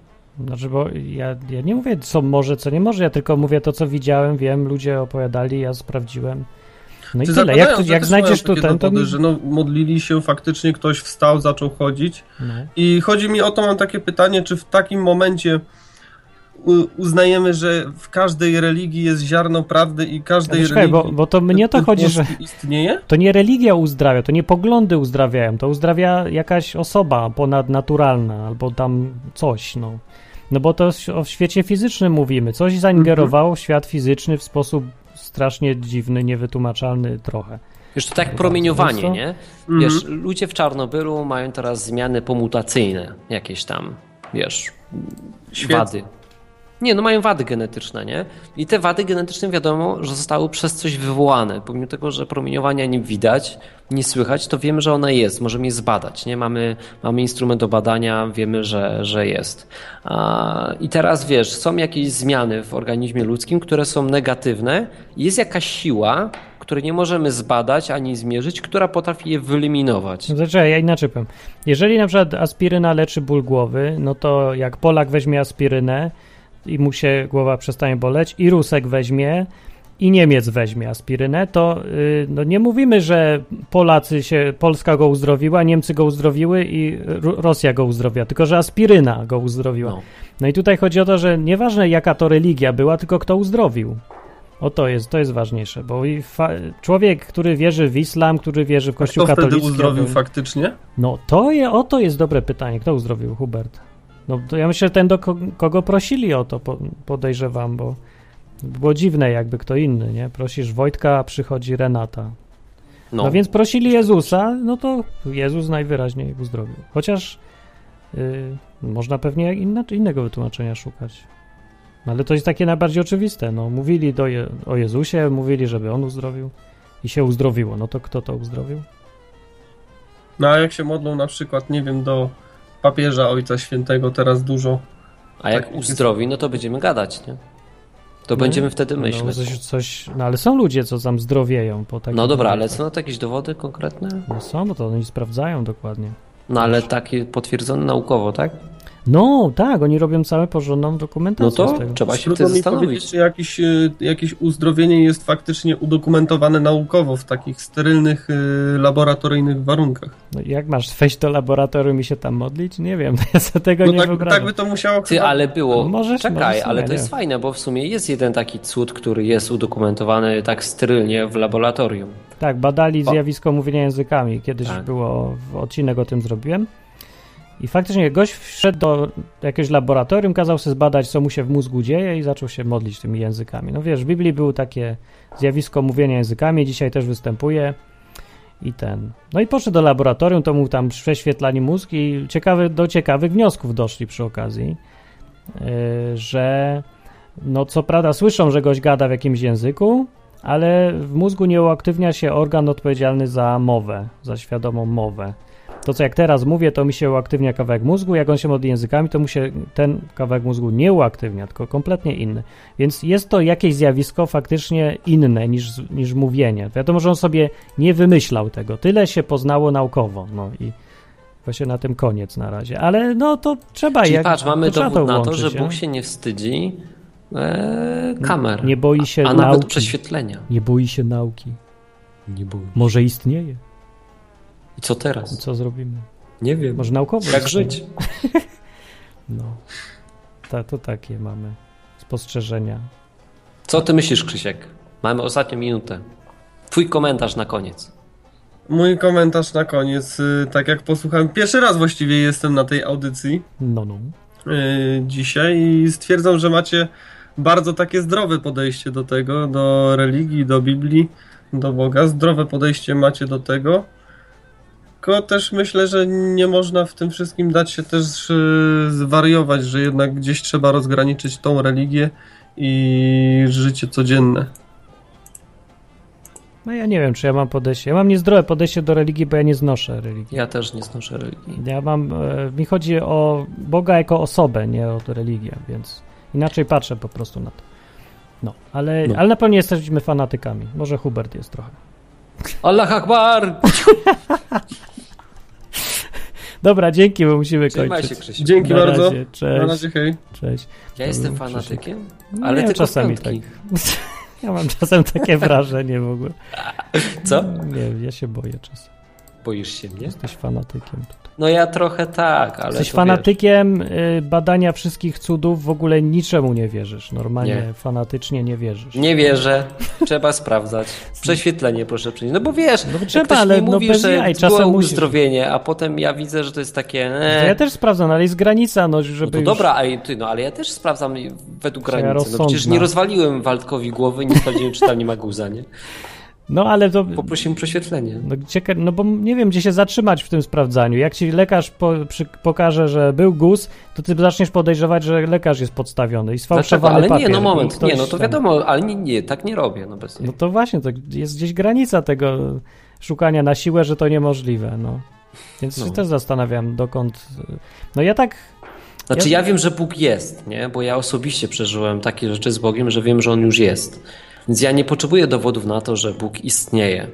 B: Znaczy, bo ja, ja nie mówię, co może, co nie może, ja tylko mówię to, co widziałem, wiem, ludzie opowiadali, ja sprawdziłem. No i
H: Czy
B: tyle.
H: zakładają,
B: Jak,
H: że
B: jak
H: też
B: znajdziesz
H: mają
B: tu
H: takie
B: ten, to...
H: dowody,
B: mi-
H: że no, modlili się, faktycznie ktoś wstał, zaczął chodzić.
B: No.
H: I chodzi mi o to, mam takie pytanie, czy w takim momencie u- uznajemy, że w każdej religii jest ziarno prawdy i każdej
B: Ale czekaj,
H: religii...
B: No, bo, bo to mnie to
H: ten
B: chodzi, że
H: bóstwo Istnieje?
B: to nie religia uzdrawia, to nie poglądy uzdrawiają, to uzdrawia jakaś osoba ponadnaturalna albo tam coś, no. No bo to o świecie fizycznym mówimy. Coś zaingerowało w świat fizyczny w sposób strasznie dziwny, niewytłumaczalny trochę.
C: Wiesz, to tak promieniowanie,
B: Wiesz co?
C: nie?
H: Mhm.
C: Wiesz, ludzie w Czarnobylu mają teraz zmiany pomutacyjne jakieś tam, wiesz,
H: Świetnie.
C: wady. Nie, no mają wady genetyczne, nie? I te wady genetyczne wiadomo, że zostały przez coś wywołane. Pomimo tego, że promieniowania nie widać, nie słychać, to wiemy, że ona jest. Możemy je zbadać, nie? Mamy, mamy instrument do badania, wiemy, że, że jest. A, I teraz wiesz, są jakieś zmiany w organizmie ludzkim, które są negatywne. Jest jakaś siła, której nie możemy zbadać ani zmierzyć, która potrafi je wyeliminować.
B: No to czekaj, ja inaczej powiem. Jeżeli na przykład aspiryna leczy ból głowy, no to jak Polak weźmie aspirynę i mu się głowa przestanie boleć, i Rusek weźmie, i Niemiec weźmie aspirynę, to y, no nie mówimy, że Polacy się, Polska go uzdrowiła, Niemcy go uzdrowiły i Ru- Rosja go uzdrowiła, tylko że aspiryna go uzdrowiła.
C: No.
B: No i tutaj chodzi o to, że nieważne jaka to religia była, tylko kto uzdrowił. O to jest, to jest ważniejsze, bo i fa- człowiek, który wierzy w islam, który wierzy w kościół
H: Kto wtedy
B: katolicki...
H: uzdrowił
B: albo-
H: faktycznie?
B: no to je, o to jest dobre pytanie. Kto uzdrowił Hubert? No to ja myślę, że ten, do ko- kogo prosili o to, po- podejrzewam, bo było dziwne jakby kto inny, nie? Prosisz Wojtka, a przychodzi Renata. No, więc prosili Jezusa, no to Jezus najwyraźniej uzdrowił. Chociaż y, można pewnie inna, innego wytłumaczenia szukać. No, ale to jest takie najbardziej oczywiste. No, mówili do je, o Jezusie, mówili, żeby on uzdrowił i się uzdrowiło. No to kto to uzdrowił?
H: No a jak się modlą na przykład, nie wiem, do papieża Ojca Świętego teraz dużo.
C: A jak
H: Tak, jest-
C: uzdrowi, no to będziemy gadać, nie? To będziemy wtedy
B: No,
C: myśleć.
B: coś, coś, no ale są ludzie, co tam zdrowieją po takim.
C: No dobra, ale są to jakieś dowody konkretne?
B: No są, bo to oni sprawdzają dokładnie.
C: No ale takie potwierdzone naukowo, tak?
B: No, tak, oni robią całą porządną
C: No
B: dokumentację
C: to
B: z tego.
C: trzeba się
H: Trudno
C: wtedy
H: mi powiedzieć,
C: zastanowić.
H: czy jakieś, y, jakieś uzdrowienie jest faktycznie udokumentowane naukowo w takich sterylnych, y, laboratoryjnych warunkach.
B: No, jak masz wejść do laboratorium i się tam modlić? Nie wiem, ja sobie tego
H: No
B: nie
H: tak,
B: wyobrażam.
H: tak by to musiało
C: Ty,
H: chyba-
C: ale było.
B: Możesz,
C: Czekaj,
B: możesz,
C: ale
B: nie,
C: to jest
B: nie.
C: fajne, bo w sumie jest jeden taki cud, który jest udokumentowany tak sterylnie w laboratorium.
B: Tak, badali
C: O.
B: zjawisko mówienia językami. Kiedyś
C: Tak.
B: było, w odcinek o tym zrobiłem. I faktycznie gość wszedł do jakiegoś laboratorium, kazał sobie zbadać, co mu się w mózgu dzieje i zaczął się modlić tymi językami. No wiesz, w Biblii było takie zjawisko mówienia językami, dzisiaj też występuje i ten. No i poszedł do laboratorium, to mu tam prześwietlali mózg i ciekawy, do ciekawych wniosków doszli przy okazji, yy, że no co prawda słyszą, że gość gada w jakimś języku, ale w mózgu nie uaktywnia się organ odpowiedzialny za mowę, za świadomą mowę. To, co jak teraz mówię, to mi się uaktywnia kawałek mózgu, jak on się modli językami, to mu się ten kawałek mózgu nie uaktywnia, tylko kompletnie inny. Więc jest to jakieś zjawisko faktycznie inne niż, niż mówienie. Wiadomo, że on sobie nie wymyślał tego. Tyle się poznało naukowo. No i właśnie na tym koniec na razie. Ale no to trzeba
C: Czyli
B: jak,
C: patrz, mamy
B: to trzeba
C: dowód na to,
B: włączyć,
C: że
B: nie?
C: Bóg się nie wstydzi e, kamer.
B: Nie boi się
C: a, a nawet
B: nauki.
C: prześwietlenia.
B: Nie boi się nauki.
C: Nie boi.
B: Może istnieje.
C: I co teraz?
B: Co zrobimy?
C: Nie wiem.
B: Może naukowo.
C: Jak żyć?
B: No. Ta, to takie mamy spostrzeżenia.
C: Co ty myślisz, Krzysiek? Mamy ostatnią minutę. Twój komentarz na koniec.
H: Mój komentarz na koniec, y, tak jak posłuchałem, pierwszy raz właściwie jestem na tej audycji
B: No, no.
H: y, dzisiaj i stwierdzam, że macie bardzo takie zdrowe podejście do tego, do religii, do Biblii, do Boga. Zdrowe podejście macie do tego. Tylko też myślę, że nie można w tym wszystkim dać się też y, zwariować, że jednak gdzieś trzeba rozgraniczyć tą religię i życie codzienne.
B: No ja nie wiem, czy ja mam podejście. Ja mam niezdrowe podejście do religii, bo ja nie znoszę religii.
C: Ja też nie znoszę religii.
B: Ja mam. E, mi chodzi o Boga jako osobę, nie o religię, więc inaczej patrzę po prostu na to. No, ale,
C: No.
B: ale na pewno nie jesteśmy fanatykami. Może Hubert jest trochę.
C: Allah Akbar!
B: Dobra, dzięki, bo musimy
C: Trzymaj się,
B: kończyć.
C: Krzysiek.
H: Dzięki
B: Na
H: bardzo.
B: razie,
H: Na
B: cześć,
H: razie, hej.
B: cześć.
C: Ja
B: był
C: jestem
B: Krzysiek.
C: fanatykiem,
B: Nie
C: ale
B: wiem,
C: tylko
B: czasami
C: czasami piątki.
B: Ja mam czasem takie wrażenie w ogóle. tak.
C: Co?
B: Nie, ja się boję czasem.
C: Boisz się mnie?
B: Jesteś fanatykiem.
C: No ja trochę tak, ale
B: Jesteś
C: to
B: fanatykiem y, badania wszystkich cudów, w ogóle niczemu nie wierzysz. Normalnie,
C: Nie.
B: fanatycznie nie wierzysz.
C: Wiesz, nie wierzę, trzeba sprawdzać. Prześwietlenie proszę przynieść. No bo wiesz, jak
B: trzeba,
C: ktoś
B: ale
C: mi
B: no
C: mówi,
B: bez
C: że
B: jaj,
C: było
B: czasem musisz. No
C: uzdrowienie, a potem ja widzę, że to jest takie...
B: To
C: E,
B: Ja też sprawdzam, ale jest granica, no żeby
C: no to
B: już-
C: dobra, ale, ty, no, ale ja też sprawdzam według
B: Że ja
C: granicy. No przecież
B: rozsądna.
C: nie rozwaliłem Waldkowi głowy, nie sprawdziłem, czy tam nie ma guza, nie?
B: No ale to...
C: Poprosiłem o prześwietlenie.
B: No, cieka... no bo nie wiem, gdzie się zatrzymać w tym sprawdzaniu. Jak ci lekarz po... przy... pokaże, że był guz, to ty zaczniesz podejrzewać, że lekarz jest podstawiony i
C: Dlaczego?
B: sfałszowany
C: Ale
B: papier.
C: nie, no
B: I
C: moment,
B: ktoś
C: nie, no to
B: tam-
C: wiadomo, ale nie, nie tak nie robię, no bez
B: No to właśnie, to jest gdzieś granica tego szukania na siłę, że to niemożliwe, no. Więc
C: No.
B: się też zastanawiam, dokąd... No ja tak...
C: Znaczy ja wiem, że Bóg jest, nie? Bo ja osobiście przeżyłem takie rzeczy z Bogiem, że wiem, że On już jest. Więc ja nie potrzebuję dowodów na to, że Bóg istnieje.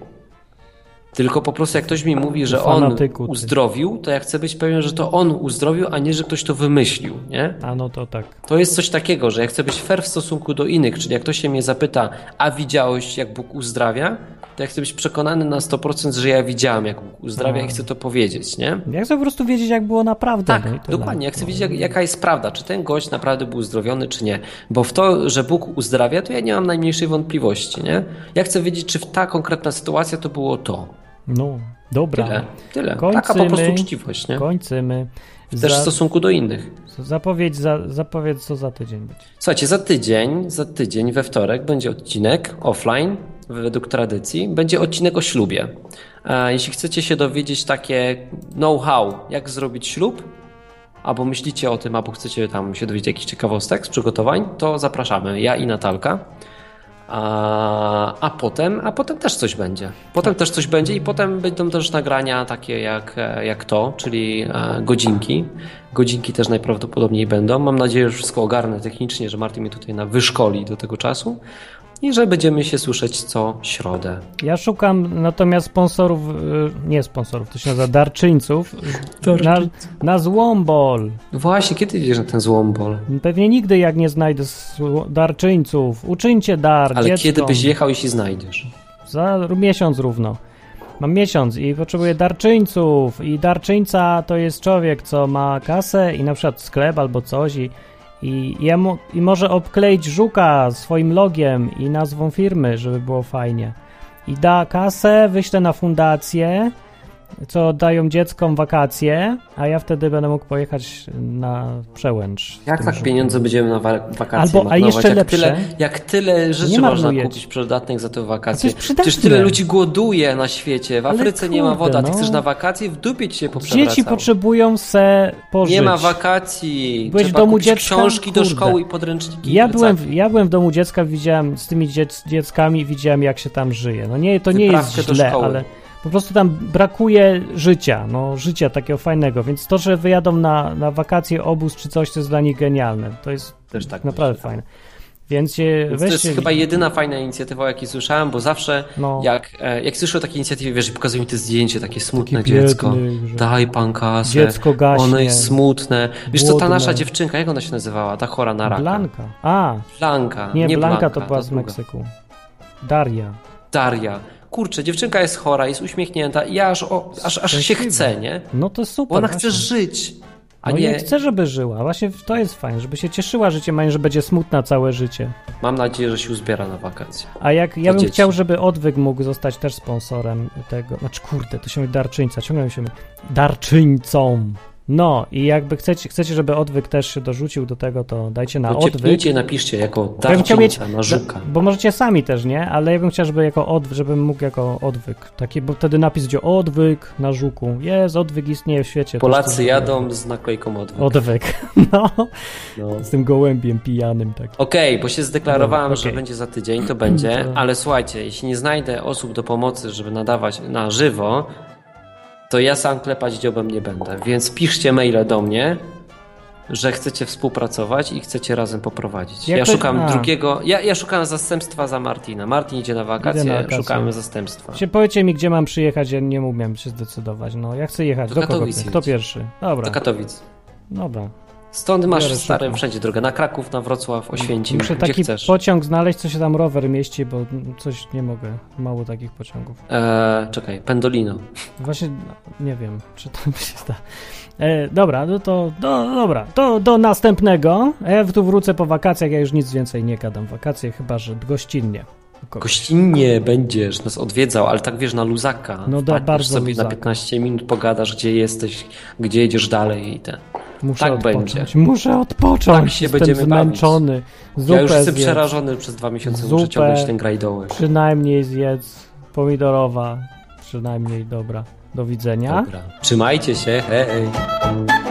C: Tylko po prostu jak ktoś mi mówi, że On
B: Fanatyku ty.
C: uzdrowił, to ja chcę być pewien, że to On uzdrowił, a nie, że ktoś to wymyślił, nie?
B: A no to tak.
C: To jest coś takiego, że ja chcę być fair w stosunku do innych, czyli jak ktoś się mnie zapyta, a widziałeś, jak Bóg uzdrawia, to ja chcę być przekonany na 100%, że ja widziałem, jak Bóg uzdrawia i chcę to powiedzieć, nie?
B: Ja chcę po prostu wiedzieć, jak było naprawdę.
C: Tak,
B: no i tyle.
C: dokładnie. Ja chcę wiedzieć, jak, jaka jest prawda, czy ten gość naprawdę był uzdrowiony, czy nie. Bo w to, że Bóg uzdrawia, to ja nie mam najmniejszej wątpliwości, nie? Ja chcę wiedzieć, czy w ta konkretna sytuacja to było to.
B: No, dobra.
C: Tyle. Tyle.
B: Kończymy.
C: Taka po prostu uczciwość, nie?
B: Kończymy.
C: Też w
B: Za,
C: stosunku do innych.
B: zapowiedź, za, zapowiedź, co za tydzień będzie.
C: Słuchajcie, za tydzień, za tydzień, we wtorek będzie odcinek offline, według tradycji, będzie odcinek o ślubie. E, Jeśli chcecie się dowiedzieć takie know-how, jak zrobić ślub, albo myślicie o tym, albo chcecie tam się dowiedzieć jakichś ciekawostek z przygotowań, to zapraszamy, ja i Natalka. A, a potem, a potem też coś będzie. Potem też coś będzie i potem będą też nagrania takie jak, e, jak to, czyli e, godzinki. Godzinki też najprawdopodobniej będą. Mam nadzieję, że wszystko ogarnę technicznie, że Martin mnie tutaj na wyszkoli do tego czasu. i że będziemy się słyszeć co środę.
B: Ja szukam natomiast sponsorów, y, nie sponsorów, to się nazywa darczyńców, na, na złombol.
C: Właśnie, kiedy idziesz na ten złombol?
B: Pewnie nigdy jak nie znajdę sło- darczyńców. Uczyńcie dar
C: Ale
B: dzieckom.
C: kiedy byś jechał, jeśli znajdziesz?
B: Za r- miesiąc równo. Mam miesiąc i potrzebuję darczyńców. I darczyńca to jest człowiek, co ma kasę i na przykład sklep albo coś i, i, jemu, i może obkleić żuka swoim logiem i nazwą firmy, żeby było fajnie. I da kasę, wyślę na fundację, co dają dzieckom wakacje, a ja wtedy będę mógł pojechać na przełęcz. w
C: Jak
B: tym
C: tak
B: żuku.
C: pieniądze będziemy na wa- wakacje
B: Albo- a
C: marnować?
B: jeszcze
C: jak
B: lepsze-
C: Tyle, jak tyle rzeczy
B: Nie
C: można
B: marnujecie.
C: kupić przydatnych za te
B: To
C: wakacje.
B: jest przydatne.
C: Przecież tyle ludzi głoduje na świecie. W
B: Ale
C: Afryce nie ma
B: kurde,
C: woda. Ty
B: no.
C: chcesz na wakacje? W dupie ci się poprzewracało.
B: Dzieci potrzebują se pożyć.
C: Nie ma wakacji.
B: Byłeś w
C: Trzeba
B: domu
C: kupić
B: dziecka?
C: książki do
B: Kurde.
C: szkoły i podręczniki.
B: Ja
C: i
B: byłem,
C: plecaki.
B: w- ja byłem w domu dziecka, widziałem z tymi dziec, dzieckami, widziałem jak się tam żyje. No nie, to nie jest
C: Wyprawkę do
B: źle,
C: szkoły.
B: ale po prostu tam brakuje życia, no życia takiego fajnego, więc to, że wyjadą na, na wakacje, obóz czy coś, to jest dla nich genialne. To jest
C: Też tak
B: naprawdę
C: myślę.
B: fajne. Więc się
C: Więc to
B: weźcie...
C: jest chyba jedyna fajna inicjatywa, o jakiej słyszałem, bo zawsze
B: No.
C: jak, e, jak słyszę o takiej inicjatywie, wiesz, i pokazują mi te zdjęcie, takie smutne
B: Taki biedny,
C: dziecko,
B: że-
C: daj pan kasę,
B: Dziecko gaśnie.
C: ono jest smutne. Wiesz co, ta
B: Głodne.
C: nasza dziewczynka, jak ona się nazywała, ta chora na raka?
B: Blanka. A,
C: Blanka.
B: nie, Blanka, to była
C: ta
B: z
C: druga.
B: Meksyku. Daria.
C: Daria. Kurczę, dziewczynka jest chora, jest uśmiechnięta i ja aż, o, aż, aż się
B: Szczęśliwa.
C: chce, nie?
B: No to
C: Bo
B: super.
C: ona
B: właśnie.
C: chce żyć, a
B: no
C: nie...
B: nie chcę, żeby żyła. Właśnie to jest fajne, żeby się cieszyła życiem, a nie, że będzie smutna całe życie.
C: Mam nadzieję, że się uzbiera na wakacje.
B: A jak ja
C: Dla
B: bym
C: dzieci.
B: chciał, żeby odwyk mógł zostać też sponsorem tego. Znaczy, kurde, to się mówi darczyńca, ciągle mi się mówi. Darczyńcą. No, i jakby chcecie, chcecie, żeby odwyk też się dorzucił do tego, to dajcie na
C: No
B: odwyk.
C: ciepnijcie i napiszcie jako
B: Bo ja bym chciał mieć,
C: darczyńca na żuka.
B: bo możecie sami też, nie? Ale ja bym chciał, żeby jako odwyk, żebym mógł jako odwyk. Taki, bo wtedy napis gdzie odwyk na żuku. Jest, odwyk istnieje w świecie. To
C: Polacy
B: jest-
C: jadą z naklejką odwyk.
B: Odwyk. No,
C: No.
B: z tym gołębiem pijanym tak. takim.
C: Okej, bo się zdeklarowałem,
B: Dobra, No,
C: że
B: okej. No.
C: będzie za tydzień, to będzie,
B: Dobra.
C: ale słuchajcie, jeśli nie znajdę osób do pomocy, żeby nadawać na żywo, to ja sam klepać dziobem nie będę, więc piszcie maile do mnie, że chcecie współpracować i chcecie razem poprowadzić.
B: Jak
C: ja
B: to-
C: szukam
B: a.
C: drugiego, ja, ja szukam zastępstwa za Martina. Martin idzie na wakacje,
B: Idę na wakacje.
C: szukamy zastępstwa.
B: Się powiecie mi, gdzie mam przyjechać, ja nie umiem się zdecydować. No, ja chcę jechać.
C: Do
B: Do, kogo?
C: Katowic
B: Kto
C: jedź.
B: pierwszy? Dobra,
C: Do Katowic.
B: dobra.
C: Stąd masz
B: Biorę
C: stary
B: szybko. wszędzie
C: wszędzie drogę, na Kraków, na Wrocław, Oświęcim,
B: Muszę
C: gdzie
B: taki
C: chcesz.
B: pociąg znaleźć, co się tam rower mieści, bo coś nie mogę. Mało takich pociągów.
C: Eee, czekaj, Pendolino.
B: Właśnie no, nie wiem, czy to mi się da. E, dobra, no to do, dobra, to do następnego. A Ja tu wrócę po wakacjach, ja już nic więcej nie gadam. Wakacje chyba, że gościnnie. u kogoś.
C: Gościnnie będziesz nas odwiedzał, ale tak wiesz, na luzaka.
B: No da-
C: Wpadniesz
B: bardzo
C: sobie
B: luzaka.
C: na 15 minut, pogadasz, gdzie jesteś, gdzie jedziesz dalej i te.
B: Muszę
C: tak
B: odpocząć.
C: będzie.
B: Muszę odpocząć.
C: Tak się
B: Jestem
C: będziemy bawić.
B: zmęczony. Zupę
C: ja już jestem
B: zjedz.
C: przerażony, przez dwa miesiące muszę
B: Zupę.
C: ciągnąć ten grajdołek.
B: Przynajmniej zjedz
C: Tak.
B: pomidorowa. Przynajmniej dobra. Do widzenia.
C: Dobra. Trzymajcie się, hej.